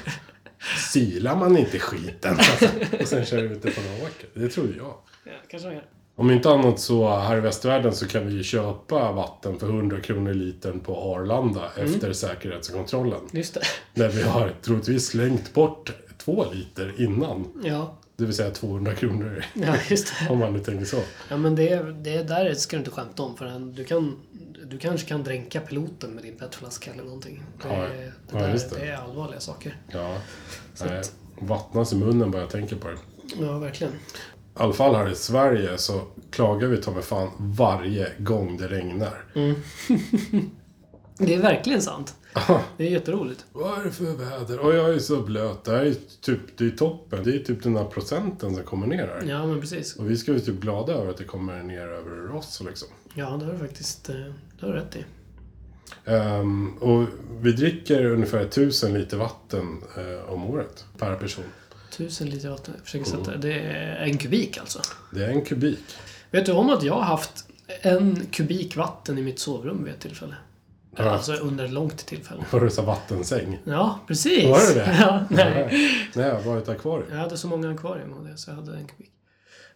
[SPEAKER 1] Silar man inte skiten och sen kör vi ut det på några åker. Det tror jag.
[SPEAKER 3] Ja, kanske man gör.
[SPEAKER 1] Om inte annat så här i västvärlden så kan vi ju köpa vatten för 100 kronor litern på Arlanda efter säkerhetskontrollen.
[SPEAKER 3] Just det.
[SPEAKER 1] Där vi har troligtvis slängt bort två liter innan.
[SPEAKER 3] Ja,
[SPEAKER 1] Det vill säga 200 kronor
[SPEAKER 3] ja just det.
[SPEAKER 1] om man nu tänker så.
[SPEAKER 3] Ja, men det, det där ska du inte skämta om för du, kan, du kanske kan dränka piloten med din petflaska eller någonting. Det,
[SPEAKER 1] Ja,
[SPEAKER 3] det,
[SPEAKER 1] ja,
[SPEAKER 3] där,
[SPEAKER 1] just
[SPEAKER 3] det.
[SPEAKER 1] det.
[SPEAKER 3] är allvarliga saker.
[SPEAKER 1] Ja. Nej, vattnas i munnen bara jag tänker på det.
[SPEAKER 3] Ja, verkligen.
[SPEAKER 1] I alla fall här i Sverige så klagar vi ta mig fan varje gång det regnar.
[SPEAKER 3] Det är verkligen sant. Det är jätteroligt.
[SPEAKER 1] Vad är det för väder? Och jag är så blöt. Det här är typ, det är toppen. Det är typ den här procenten som kommer ner här.
[SPEAKER 3] Ja, men precis.
[SPEAKER 1] Och vi ska ju typ glada över att det kommer ner över oss liksom.
[SPEAKER 3] Ja, det har du faktiskt eh, det har du rätt i.
[SPEAKER 1] Ehm, och vi dricker ungefär 1000 liter vatten eh, om året per person.
[SPEAKER 3] Tusen liter vatten. Jag försöker
[SPEAKER 1] Mm.
[SPEAKER 3] sätta det. är en kubik alltså.
[SPEAKER 1] Det är en kubik.
[SPEAKER 3] Vet du om att jag har haft en kubik vatten i mitt sovrum vid ett tillfälle?
[SPEAKER 1] Ja.
[SPEAKER 3] Alltså under ett långt tillfälle.
[SPEAKER 1] Var det så här vattensäng?
[SPEAKER 3] Ja, precis.
[SPEAKER 1] Var det det?
[SPEAKER 3] Ja, nej.
[SPEAKER 1] Nej, jag har varit i akvarium.
[SPEAKER 3] Jag hade så många akvarium av det, så jag hade en kubik.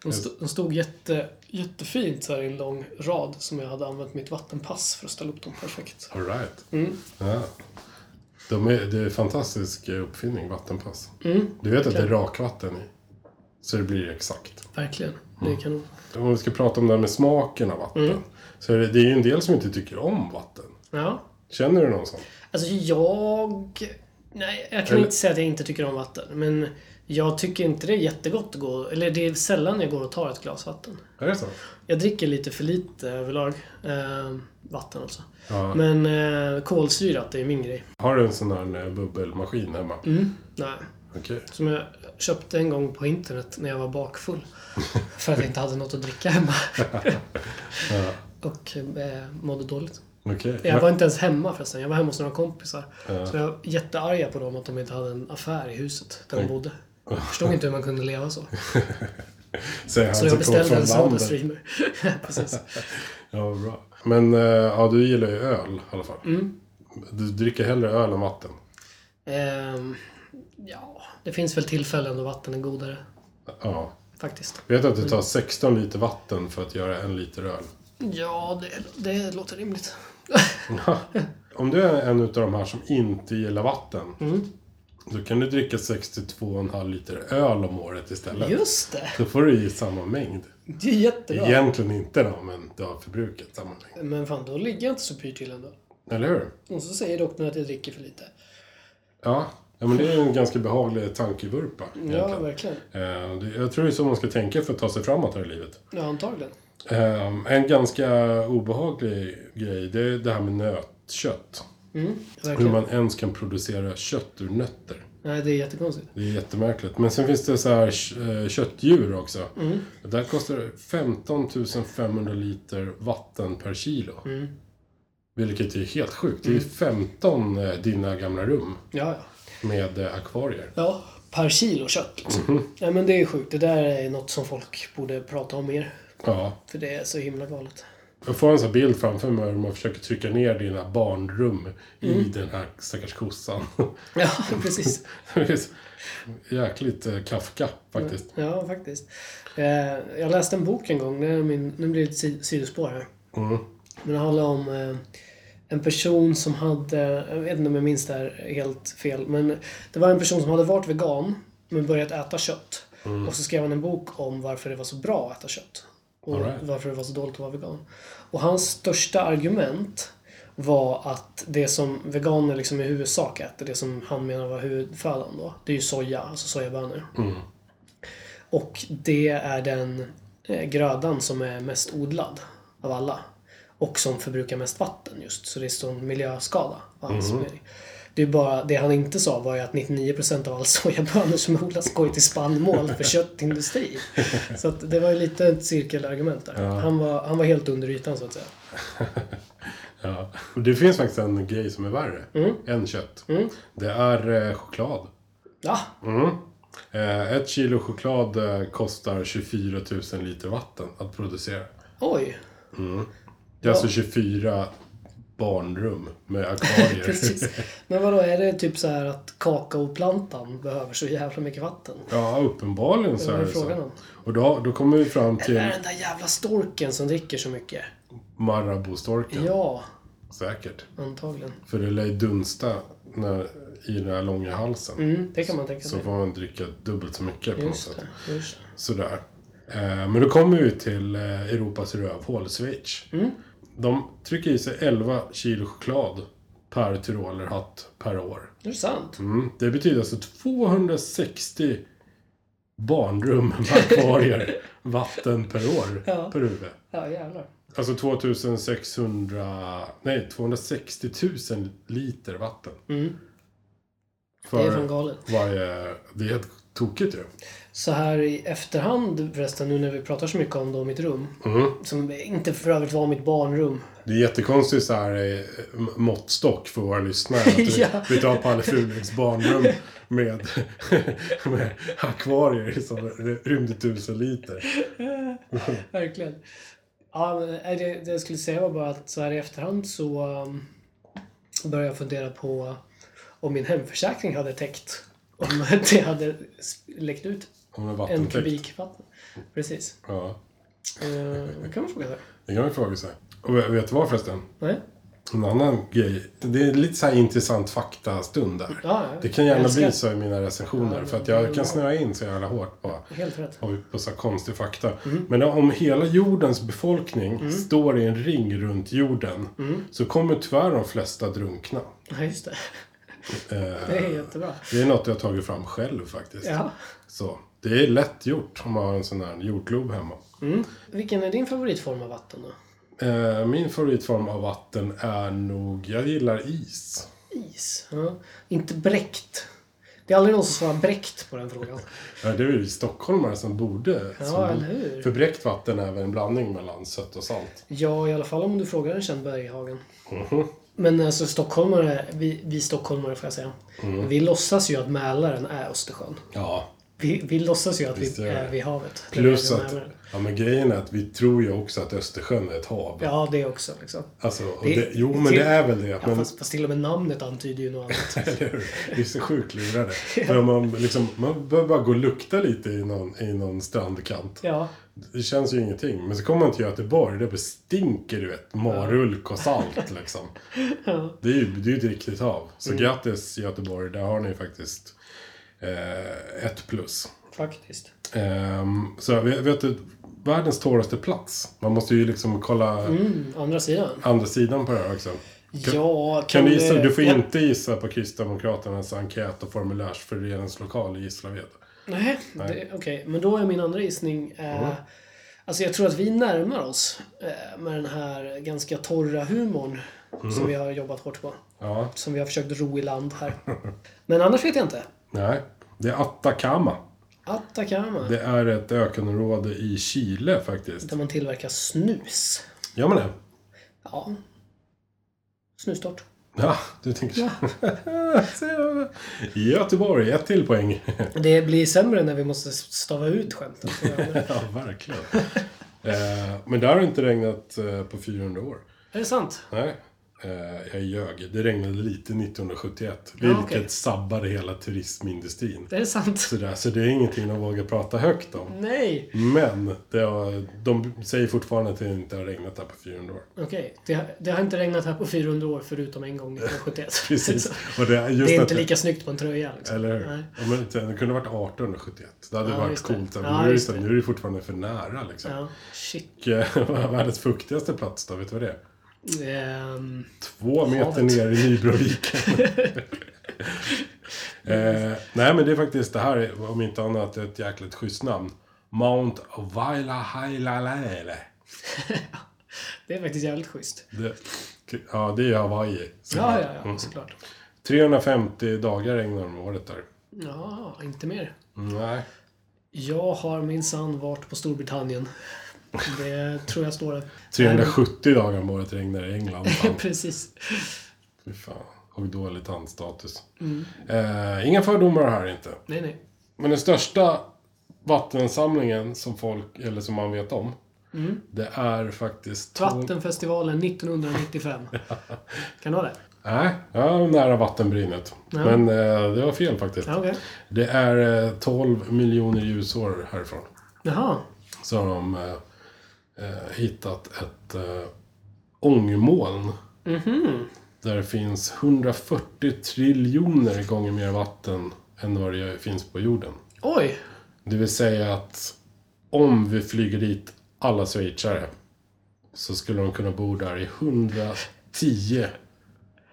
[SPEAKER 3] De,
[SPEAKER 1] Mm.
[SPEAKER 3] st- de stod jätte, jättefint så här i en lång rad som jag hade använt mitt vattenpass för att ställa upp dem perfekt.
[SPEAKER 1] All right.
[SPEAKER 3] Mm.
[SPEAKER 1] Ja. De är, det är en fantastisk uppfinning, vattenpass.
[SPEAKER 3] Mm.
[SPEAKER 1] Du vet att det är rakvatten i. Så det blir exakt.
[SPEAKER 3] Verkligen. Det är kanon.
[SPEAKER 1] Om vi ska prata om det här med smaken av vatten.
[SPEAKER 3] Mm.
[SPEAKER 1] Så är det, det är ju en del som inte tycker om vatten.
[SPEAKER 3] Ja.
[SPEAKER 1] Känner du någon sån?
[SPEAKER 3] Alltså jag... Nej, jag kan
[SPEAKER 1] Eller-
[SPEAKER 3] inte säga att jag inte tycker om vatten. Men jag tycker inte det är jättegott att gå... Eller det är sällan jag går och tar ett glas vatten.
[SPEAKER 1] Är det så?
[SPEAKER 3] Jag dricker lite för lite överlag. Eh, vatten alltså.
[SPEAKER 1] Ja.
[SPEAKER 3] Men eh, kolsyrat, det är min grej. Mm.
[SPEAKER 1] Har du en sån här eh, bubbelmaskin hemma?
[SPEAKER 3] Nej.
[SPEAKER 1] Okej.
[SPEAKER 3] Som jag köpte en gång på internet när jag var bakfull. För att jag inte hade något att dricka hemma. och eh, mådde dåligt.
[SPEAKER 1] Okej.
[SPEAKER 3] Jag var inte ens hemma förresten. Jag var hemma hos några kompisar. Så jag var jättearga på dem att de inte hade en affär i huset där de bodde. Jag förstod inte hur man kunde leva så.
[SPEAKER 1] Säger han
[SPEAKER 3] Så
[SPEAKER 1] som
[SPEAKER 3] jag
[SPEAKER 1] kommer
[SPEAKER 3] beställde
[SPEAKER 1] från
[SPEAKER 3] en Soda
[SPEAKER 1] landet.
[SPEAKER 3] Streamer. Precis.
[SPEAKER 1] Ja, bra. Men eh, ja, du gillar ju öl i alla fall.
[SPEAKER 3] Mm.
[SPEAKER 1] Du dricker hellre öl än vatten.
[SPEAKER 3] Ehm, ja, det finns väl tillfällen då vatten är godare.
[SPEAKER 1] Ja.
[SPEAKER 3] Faktiskt.
[SPEAKER 1] Vet du att
[SPEAKER 3] Mm.
[SPEAKER 1] det tar 16 liter vatten för att göra en liter öl?
[SPEAKER 3] Ja, det, det låter rimligt.
[SPEAKER 1] Om du är en av de här som inte gillar vatten.
[SPEAKER 3] Mm.
[SPEAKER 1] Då kan du dricka 62,5 liter öl om året istället.
[SPEAKER 3] Just det!
[SPEAKER 1] Då får du i samma mängd.
[SPEAKER 3] Det är jättebra.
[SPEAKER 1] Egentligen inte då, men du har förbrukat samma mängd.
[SPEAKER 3] Men fan, då ligger jag inte så pyrt till ändå.
[SPEAKER 1] Eller hur?
[SPEAKER 3] Och så säger doktorn att jag dricker för lite.
[SPEAKER 1] Ja. ja, men det är ju en ganska behaglig tankevurpa.
[SPEAKER 3] Ja,
[SPEAKER 1] egentligen.
[SPEAKER 3] verkligen.
[SPEAKER 1] Eh, det- Jag tror det är så man ska tänka för att ta sig framåt här i livet.
[SPEAKER 3] Ja, antagligen.
[SPEAKER 1] Ehm, En ganska obehaglig grej, det är det här med nötkött. Hur
[SPEAKER 3] Mm. Verkligen.
[SPEAKER 1] man ens kan producera kött ur nötter.
[SPEAKER 3] Nej, det är jättekonstigt.
[SPEAKER 1] Det är jättemärkligt. Men sen finns det så här eh, köttdjur också. Där kostar det 15 500 liter vatten per kilo. Vilket är helt sjukt. Det är 15 eh, dina gamla rum
[SPEAKER 3] Ja, ja.
[SPEAKER 1] med eh, akvarier.
[SPEAKER 3] Ja, per kilo kött liksom. Nej, men det är sjukt. Det där är något som folk borde prata om mer.
[SPEAKER 1] Ja.
[SPEAKER 3] För det är så himla galet.
[SPEAKER 1] Jag får en sån här bild framför mig hur man försöker trycka ner dina barnrum i den här stackars kossan.
[SPEAKER 3] Ja, precis.
[SPEAKER 1] Det är så Jäkligt eh, Kafka faktiskt.
[SPEAKER 3] Ja, faktiskt. Eh, jag läste en bok en gång. Det är min, nu blir det ett si- sidospår här.
[SPEAKER 1] Mm.
[SPEAKER 3] Men det handlar om eh, en person som hade, jag vet inte om jag minns det här helt fel, men det var en person som hade varit vegan men börjat äta kött.
[SPEAKER 1] Mm.
[SPEAKER 3] Och så skrev han en bok om varför det var så bra att äta kött. Och
[SPEAKER 1] All right.
[SPEAKER 3] varför det var så dåligt att vara vegan. Och hans största argument var att det som veganer liksom i huvudsak äter, det som han menar var huvudfödan då, det är ju soja, alltså sojabönor. Och det är den eh, grödan som är mest odlad av alla. Och som förbrukar mest vatten just. Så det är sån miljöskada. var hans mening. Det, är bara, det han inte sa var ju att 99% av all sojabönor som odlas går ju till spannmål för köttindustri. Så att det var ju lite ett cirkelargument där. Han, var, han var helt under ytan så att säga.
[SPEAKER 1] Ja. Och Det finns faktiskt en grej som är värre än kött. Det är eh, choklad.
[SPEAKER 3] Ja,
[SPEAKER 1] Eh, ett kilo choklad eh, kostar 24 000 liter vatten att producera.
[SPEAKER 3] oj.
[SPEAKER 1] Det är alltså 24 barnrum med akvarier.
[SPEAKER 3] Precis. Men vadå, är det typ så här att kakaoplantan behöver så jävla mycket vatten?
[SPEAKER 1] ja, uppenbarligen så
[SPEAKER 3] Vad
[SPEAKER 1] är
[SPEAKER 3] är
[SPEAKER 1] det
[SPEAKER 3] frågan om?
[SPEAKER 1] så. Och då, då kommer vi fram
[SPEAKER 3] Det
[SPEAKER 1] till
[SPEAKER 3] är den där jävla storken som dricker så mycket.
[SPEAKER 1] Marabou-storken.
[SPEAKER 3] Ja,
[SPEAKER 1] Säkert.
[SPEAKER 3] antagligen.
[SPEAKER 1] För det lär ju dunsta när, i den här långa halsen.
[SPEAKER 3] Mm, det kan man tänka
[SPEAKER 1] Så
[SPEAKER 3] sig.
[SPEAKER 1] får man dricka dubbelt så mycket på något
[SPEAKER 3] Just
[SPEAKER 1] sätt.
[SPEAKER 3] det. Just det.
[SPEAKER 1] Sådär. Eh, Men då kommer vi till eh, Europas rövhål, Schweiz.
[SPEAKER 3] Mm.
[SPEAKER 1] De trycker i sig 11 kilo choklad per tyrolerhatt per år.
[SPEAKER 3] Det är sant.
[SPEAKER 1] Mm. Det betyder alltså 260 barnrum med akvarier vatten per år
[SPEAKER 3] Ja.
[SPEAKER 1] per huvud.
[SPEAKER 3] Ja, jävlar.
[SPEAKER 1] Alltså 2600, nej 260 000 liter vatten.
[SPEAKER 3] Mm. Det är
[SPEAKER 1] För
[SPEAKER 3] fan galet.
[SPEAKER 1] varje, det är helt tokigt ju.
[SPEAKER 3] Så här i efterhand förresten, nu när vi pratar så mycket om då mitt rum.
[SPEAKER 1] Mm-hmm.
[SPEAKER 3] Som inte för övrigt var mitt barnrum.
[SPEAKER 1] Det är jättekonstigt så här eh, m- måttstock för våra lyssnare. Att vi,
[SPEAKER 3] Ja.
[SPEAKER 1] vi tar Palle Furuks barnrum med, med akvarier som rymde tusen liter.
[SPEAKER 3] Verkligen. Ja, men nej, det, det jag skulle säga var bara att så här i efterhand så um, började jag fundera på om min hemförsäkring hade täckt. Om det hade s- läckt ut
[SPEAKER 1] Hon är
[SPEAKER 3] En
[SPEAKER 1] vattentäckt.
[SPEAKER 3] kubik vatten. Precis.
[SPEAKER 1] Ja.
[SPEAKER 3] Eh, det kan man fråga sig.
[SPEAKER 1] Det kan man fråga sig. Och vet vet du vad förresten?
[SPEAKER 3] Nej?
[SPEAKER 1] En annan grej. Det är lite så här intressant faktastund där.
[SPEAKER 3] Ja, ja.
[SPEAKER 1] Det kan gärna
[SPEAKER 3] Jag älskar-
[SPEAKER 1] bli så i mina recensioner. För att jag kan snöa in så jävla hårt på,
[SPEAKER 3] Helt rätt.
[SPEAKER 1] på, på så här konstig fakta.
[SPEAKER 3] Mm.
[SPEAKER 1] Men om hela jordens befolkning står i en ring runt jorden.
[SPEAKER 3] Mm.
[SPEAKER 1] Så kommer tyvärr de flesta drunkna.
[SPEAKER 3] Ja, just det.
[SPEAKER 1] Eh,
[SPEAKER 3] Det är jättebra.
[SPEAKER 1] det är något jag har tagit fram själv faktiskt.
[SPEAKER 3] Ja.
[SPEAKER 1] Så det är lätt gjort om man har en sån här jordglob hemma.
[SPEAKER 3] Vilken är din favoritform av vatten då?
[SPEAKER 1] Eh, min favoritform av vatten är nog, jag gillar is.
[SPEAKER 3] Is? Ja. Inte bräckt. Det är aldrig någon som svarar bräckt på den frågan.
[SPEAKER 1] Ja, Eh, det är ju stockholmare som borde.
[SPEAKER 3] Ja,
[SPEAKER 1] som
[SPEAKER 3] eller hur?
[SPEAKER 1] För bräckt vatten är väl en blandning mellan sött och salt.
[SPEAKER 3] Ja, i alla fall om du frågar en känd Berghagen.
[SPEAKER 1] Mhm.
[SPEAKER 3] Men alltså stockholmare, vi, vi stockholmare får jag säga.
[SPEAKER 1] Mhm.
[SPEAKER 3] Vi låtsas ju att Mälaren är Östersjön.
[SPEAKER 1] Ja.
[SPEAKER 3] Vi, vi låtsas ju att
[SPEAKER 1] Visst
[SPEAKER 3] vi
[SPEAKER 1] gör
[SPEAKER 3] är
[SPEAKER 1] det.
[SPEAKER 3] vid havet.
[SPEAKER 1] Plus
[SPEAKER 3] Det är
[SPEAKER 1] att,
[SPEAKER 3] Mälaren.
[SPEAKER 1] ja men grejen är att vi tror ju också att Östersjön är ett hav.
[SPEAKER 3] Ja, det också liksom.
[SPEAKER 1] Alltså, och
[SPEAKER 3] Det-
[SPEAKER 1] det, jo men
[SPEAKER 3] till-
[SPEAKER 1] det är väl det.
[SPEAKER 3] Ja,
[SPEAKER 1] men,
[SPEAKER 3] fast, fast till och med namnet antyder ju något annat.
[SPEAKER 1] Eller hur? Vi är så sjukt lurade. Men om man, liksom, man behöver bara gå och lukta lite i någon, i någon strandkant.
[SPEAKER 3] Ja,
[SPEAKER 1] Det känns ju ingenting. Men så kommer man till Göteborg, där bara stinker du vet marulk och salt liksom. Det är ju det är ju ett riktigt hav. Så
[SPEAKER 3] Mm.
[SPEAKER 1] grattis Göteborg, där har ni faktiskt eh, ett plus.
[SPEAKER 3] faktiskt.
[SPEAKER 1] Ehm, så vet, vet du, världens torraste plats. Man måste ju liksom kolla
[SPEAKER 3] Mm, andra sidan.
[SPEAKER 1] andra sidan på det här också.
[SPEAKER 3] Ja,
[SPEAKER 1] Kan du, gissa? du får
[SPEAKER 3] Ja.
[SPEAKER 1] inte gissa på Kristdemokraternas enkät och formulärsfördelningslokal i Gislaved.
[SPEAKER 3] Nej, det- okej. Men då är min andra gissning... Eh, Alltså jag tror att vi närmar oss eh, med den här ganska torra humorn
[SPEAKER 1] Mm.
[SPEAKER 3] som vi har jobbat hårt på.
[SPEAKER 1] Ja,
[SPEAKER 3] Som vi har försökt ro i land här. Men annars vet jag inte.
[SPEAKER 1] nej. Det är Atacama.
[SPEAKER 3] Atacama.
[SPEAKER 1] Det är ett ökenområde i Chile faktiskt.
[SPEAKER 3] Där man tillverkar snus.
[SPEAKER 1] Gör man det?
[SPEAKER 3] Ja. Snustort.
[SPEAKER 1] Ja, du tänker så. Så, Göteborg, ett till poäng.
[SPEAKER 3] Det blir sämre när vi måste stava ut skämten.
[SPEAKER 1] ja, verkligen. Eh, Men där har det inte regnat eh, på 400 år.
[SPEAKER 3] är det sant?
[SPEAKER 1] Nej, eh, jag ljög. Det regnade lite 1971.
[SPEAKER 3] Ja,
[SPEAKER 1] Vilket
[SPEAKER 3] okej.
[SPEAKER 1] sabbade hela turismindustrin.
[SPEAKER 3] Är det sant?
[SPEAKER 1] Så, där, så det är ingenting de vågar prata högt om.
[SPEAKER 3] Nej!
[SPEAKER 1] Men det har, de säger fortfarande att det inte har regnat där på 400 år.
[SPEAKER 3] Okej, det, det har inte regnat här på 400 år förutom en gång 1971.
[SPEAKER 1] Precis. Och det, är just
[SPEAKER 3] Det
[SPEAKER 1] att
[SPEAKER 3] är inte lika snyggt på en tröja. Liksom.
[SPEAKER 1] Eller hur?
[SPEAKER 3] Nej.
[SPEAKER 1] Ja, men det kunde ha varit 1871. Det hade
[SPEAKER 3] Ja,
[SPEAKER 1] varit
[SPEAKER 3] just det.
[SPEAKER 1] coolt. Men
[SPEAKER 3] Ja,
[SPEAKER 1] nu, är
[SPEAKER 3] just
[SPEAKER 1] det,
[SPEAKER 3] det.
[SPEAKER 1] nu är det fortfarande för nära liksom.
[SPEAKER 3] Ja, shit.
[SPEAKER 1] Och, eh, Världens fuktigaste plats då, vet du vad det är?
[SPEAKER 3] Ehm,
[SPEAKER 1] Två meter ner i Nybroviken. eh, nej men det är faktiskt det här, är, om inte annat, ett jäkligt schysst namn. Mount Vailahailalele.
[SPEAKER 3] det är faktiskt jävligt schysst.
[SPEAKER 1] Det, ja, det är Hawaii. Så-
[SPEAKER 3] Ja, ja, ja,
[SPEAKER 1] Mm.
[SPEAKER 3] såklart.
[SPEAKER 1] 350 dagar regnar om året där.
[SPEAKER 3] Ja, inte mer.
[SPEAKER 1] Nej.
[SPEAKER 3] Jag har minsann varit på Storbritannien. Det tror jag står där.
[SPEAKER 1] 370 dagar om året regnar i England. fan.
[SPEAKER 3] Precis.
[SPEAKER 1] Fy fan. Och dålig tandstatus.
[SPEAKER 3] Mm.
[SPEAKER 1] Eh, inga fördomar här inte.
[SPEAKER 3] Nej, nej.
[SPEAKER 1] Men den största vattensamlingen som folk, eller som man vet om.
[SPEAKER 3] Mm.
[SPEAKER 1] Det är faktiskt... tolv-
[SPEAKER 3] Vattenfestivalen 1995. Kan du ha det?
[SPEAKER 1] Nej, jag var nära vattenbrynet.
[SPEAKER 3] Ja.
[SPEAKER 1] Men eh, det var fel faktiskt.
[SPEAKER 3] Ja, okej.
[SPEAKER 1] Det är eh, 12 miljoner ljusår härifrån.
[SPEAKER 3] Jaha.
[SPEAKER 1] Så har de eh, eh, hittat ett eh, ångmoln.
[SPEAKER 3] Mhm.
[SPEAKER 1] Där det finns 140 triljoner gånger mer vatten än vad det finns på jorden.
[SPEAKER 3] Oj!
[SPEAKER 1] Det vill säga att om vi flyger dit alla schweizare så skulle de kunna bo där i 110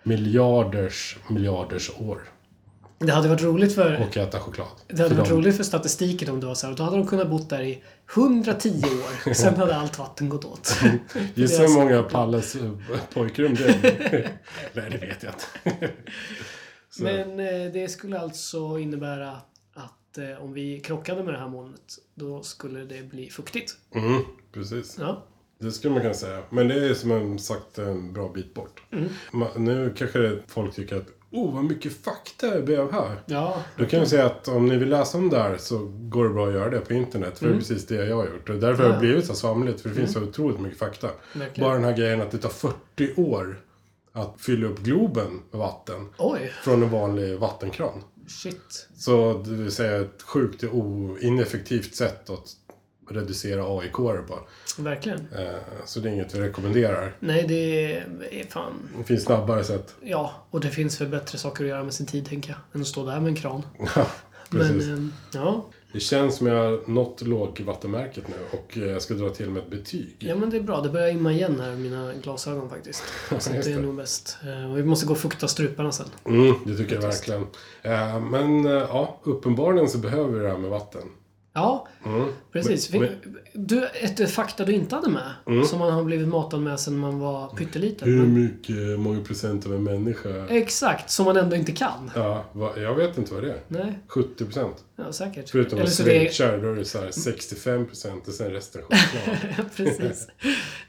[SPEAKER 1] miljarders miljarders år
[SPEAKER 3] Det hade varit roligt för,
[SPEAKER 1] och äta choklad.
[SPEAKER 3] det hade
[SPEAKER 1] För
[SPEAKER 3] varit
[SPEAKER 1] de-
[SPEAKER 3] roligt för statistiken om det var så här. Då hade de kunnat bo där i 110 år. Sen hade allt vatten gått åt.
[SPEAKER 1] Gissa
[SPEAKER 3] deras-
[SPEAKER 1] hur många Palles eh, pojkrum det är. Nej, det vet jag inte. Så.
[SPEAKER 3] Men eh, det skulle alltså innebära att eh, om vi krockade med det här molnet, då skulle det bli fuktigt.
[SPEAKER 1] Mm, precis.
[SPEAKER 3] Ja.
[SPEAKER 1] Det skulle man kunna säga. Men det är som sagt en bra bit bort.
[SPEAKER 3] Mm.
[SPEAKER 1] Ma- Nu kanske folk tycker att oh, vad mycket fakta jag blev här.
[SPEAKER 3] Ja.
[SPEAKER 1] Då kan jag säga att om ni vill läsa om det här så går det bra att göra det på internet. För det är precis det jag har gjort. Och därför har det
[SPEAKER 3] Mm. Ja. Mm.
[SPEAKER 1] blivit så svamligt. För det finns så otroligt mycket fakta.
[SPEAKER 3] Verkligen.
[SPEAKER 1] Bara den här grejen att det tar 40 år att fylla upp Globen med vatten.
[SPEAKER 3] Oj.
[SPEAKER 1] Från en vanlig vattenkran.
[SPEAKER 3] Shit.
[SPEAKER 1] Så det vill säga ett sjukt o- ineffektivt sätt att reducera aik på.
[SPEAKER 3] Verkligen.
[SPEAKER 1] Eh, Så det är inget vi rekommenderar.
[SPEAKER 3] Nej, det är fan...
[SPEAKER 1] Det finns snabbare sätt.
[SPEAKER 3] Ja, och det finns väl bättre saker att göra med sin tid, tänker jag. Än att stå där med en kran.
[SPEAKER 1] Ja,
[SPEAKER 3] Men,
[SPEAKER 1] Precis.
[SPEAKER 3] ehm, ja.
[SPEAKER 1] Det känns som jag har nått lågvattenmärket nu och eh, jag ska dra till med ett betyg.
[SPEAKER 3] ja, men det är bra. Det börjar imma igen här, mina glasögon faktiskt. Så
[SPEAKER 1] just
[SPEAKER 3] det är
[SPEAKER 1] det.
[SPEAKER 3] nog bäst. Eh, och vi måste gå och fukta struparna sen.
[SPEAKER 1] Mm, det tycker jag verkligen. Eh, Men eh, ja, uppenbarligen så behöver vi det här med vatten.
[SPEAKER 3] Ja,
[SPEAKER 1] Mm.
[SPEAKER 3] precis.
[SPEAKER 1] Men- Mm.
[SPEAKER 3] Fin- Du, ett fakta du inte hade med, som man har blivit matad med sedan man var pytteliten.
[SPEAKER 1] Hur
[SPEAKER 3] Men-
[SPEAKER 1] mycket, många procent av en människa?
[SPEAKER 3] Exakt, som man ändå inte kan.
[SPEAKER 1] Ja, vad- jag vet inte vad det är.
[SPEAKER 3] Nej,
[SPEAKER 1] 70 procent.
[SPEAKER 3] ja, säkert.
[SPEAKER 1] Förutom
[SPEAKER 3] Eller så det är
[SPEAKER 1] schweizare, då är det så här 65 procent och sen resten choklad.
[SPEAKER 3] Ja, Precis.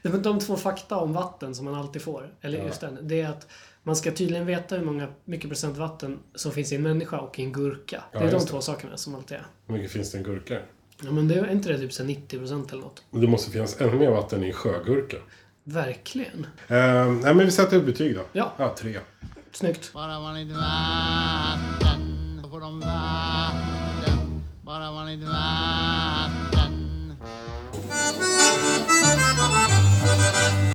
[SPEAKER 3] Det var De två fakta om vatten som man alltid får, eller just den, det är att man ska tydligen veta hur många, mycket procent vatten som finns i en människa och i en gurka. Det
[SPEAKER 1] Ja,
[SPEAKER 3] är de
[SPEAKER 1] just det.
[SPEAKER 3] två sakerna som alltid är.
[SPEAKER 1] Hur mycket finns det i en gurka?
[SPEAKER 3] Ja, men det är inte det typ så här 90 procent eller något?
[SPEAKER 1] Det måste finnas ännu mer vatten i en sjögurka.
[SPEAKER 3] Verkligen.
[SPEAKER 1] Eh, nej, men vi sätter upp betyg då.
[SPEAKER 3] Ja.
[SPEAKER 1] ja tre.
[SPEAKER 3] Snyggt.
[SPEAKER 6] Bara man lite vatten, då får de vatten. Bara man lite vatten.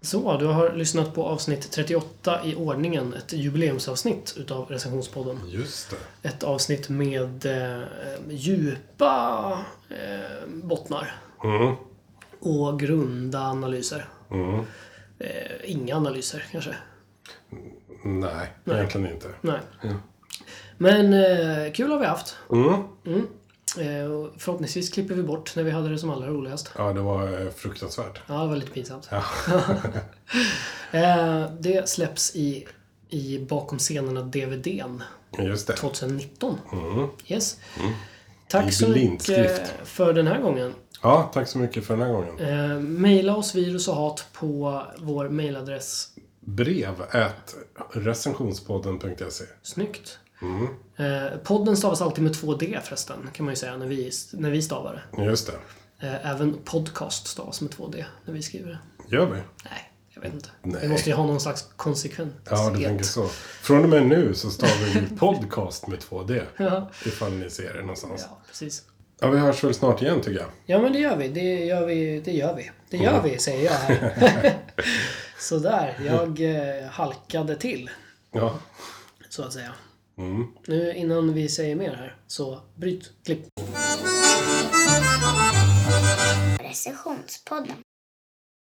[SPEAKER 3] Så, du har lyssnat på avsnitt 38 i ordningen, ett jubileumsavsnitt utav recensionspodden.
[SPEAKER 1] Just det.
[SPEAKER 3] Ett avsnitt med eh, djupa eh, bottnar
[SPEAKER 1] Mm.
[SPEAKER 3] och grunda analyser.
[SPEAKER 1] Mm.
[SPEAKER 3] Eh, inga analyser kanske.
[SPEAKER 1] Nej, egentligen inte.
[SPEAKER 3] Nej.
[SPEAKER 1] Ja.
[SPEAKER 3] Men eh, kul har vi haft.
[SPEAKER 1] Mm.
[SPEAKER 3] Mm. Eh, och förhoppningsvis klipper vi bort när vi hade det som allra roligast.
[SPEAKER 1] Ja, det var eh, fruktansvärt.
[SPEAKER 3] Ja, det var lite pinsamt.
[SPEAKER 1] Ja.
[SPEAKER 3] eh, det släpps i, i bakom scenerna-DVDn
[SPEAKER 1] Just det.
[SPEAKER 3] 2019.
[SPEAKER 1] Mm.
[SPEAKER 3] Yes.
[SPEAKER 1] I
[SPEAKER 3] Tack så mycket
[SPEAKER 1] blindskrift.
[SPEAKER 3] för den här gången.
[SPEAKER 1] Ja, tack så mycket för den här gången.
[SPEAKER 3] Eh, maila oss virus och hat på vår mailadress.
[SPEAKER 1] Brev at recensionspodden.se
[SPEAKER 3] Snyggt.
[SPEAKER 1] mm.
[SPEAKER 3] Eh, podden stavas alltid med två D förresten, kan man ju säga, när vi, när vi stavar det.
[SPEAKER 1] Just det.
[SPEAKER 3] Eh, Även podcast stavas med 2D när vi skriver det.
[SPEAKER 1] Gör vi?
[SPEAKER 3] Nej, jag vet inte.
[SPEAKER 1] Nej.
[SPEAKER 3] Vi måste ju ha någon slags konsekvens.
[SPEAKER 1] Ja, du tänker så. Från och med nu så stavar vi podcast med 2D.
[SPEAKER 3] Ja.
[SPEAKER 1] Ifall ni ser det någonstans.
[SPEAKER 3] ja, precis.
[SPEAKER 1] Ja, vi hörs väl snart igen tycker jag.
[SPEAKER 3] Ja, men det gör vi. Det gör vi. Det gör vi, det gör vi säger jag här. Sådär, jag eh, halkade till,
[SPEAKER 1] Ja.
[SPEAKER 3] så att säga.
[SPEAKER 1] Mm.
[SPEAKER 3] Nu innan vi säger mer här, så bryt, klipp.
[SPEAKER 5] Recessionspodden.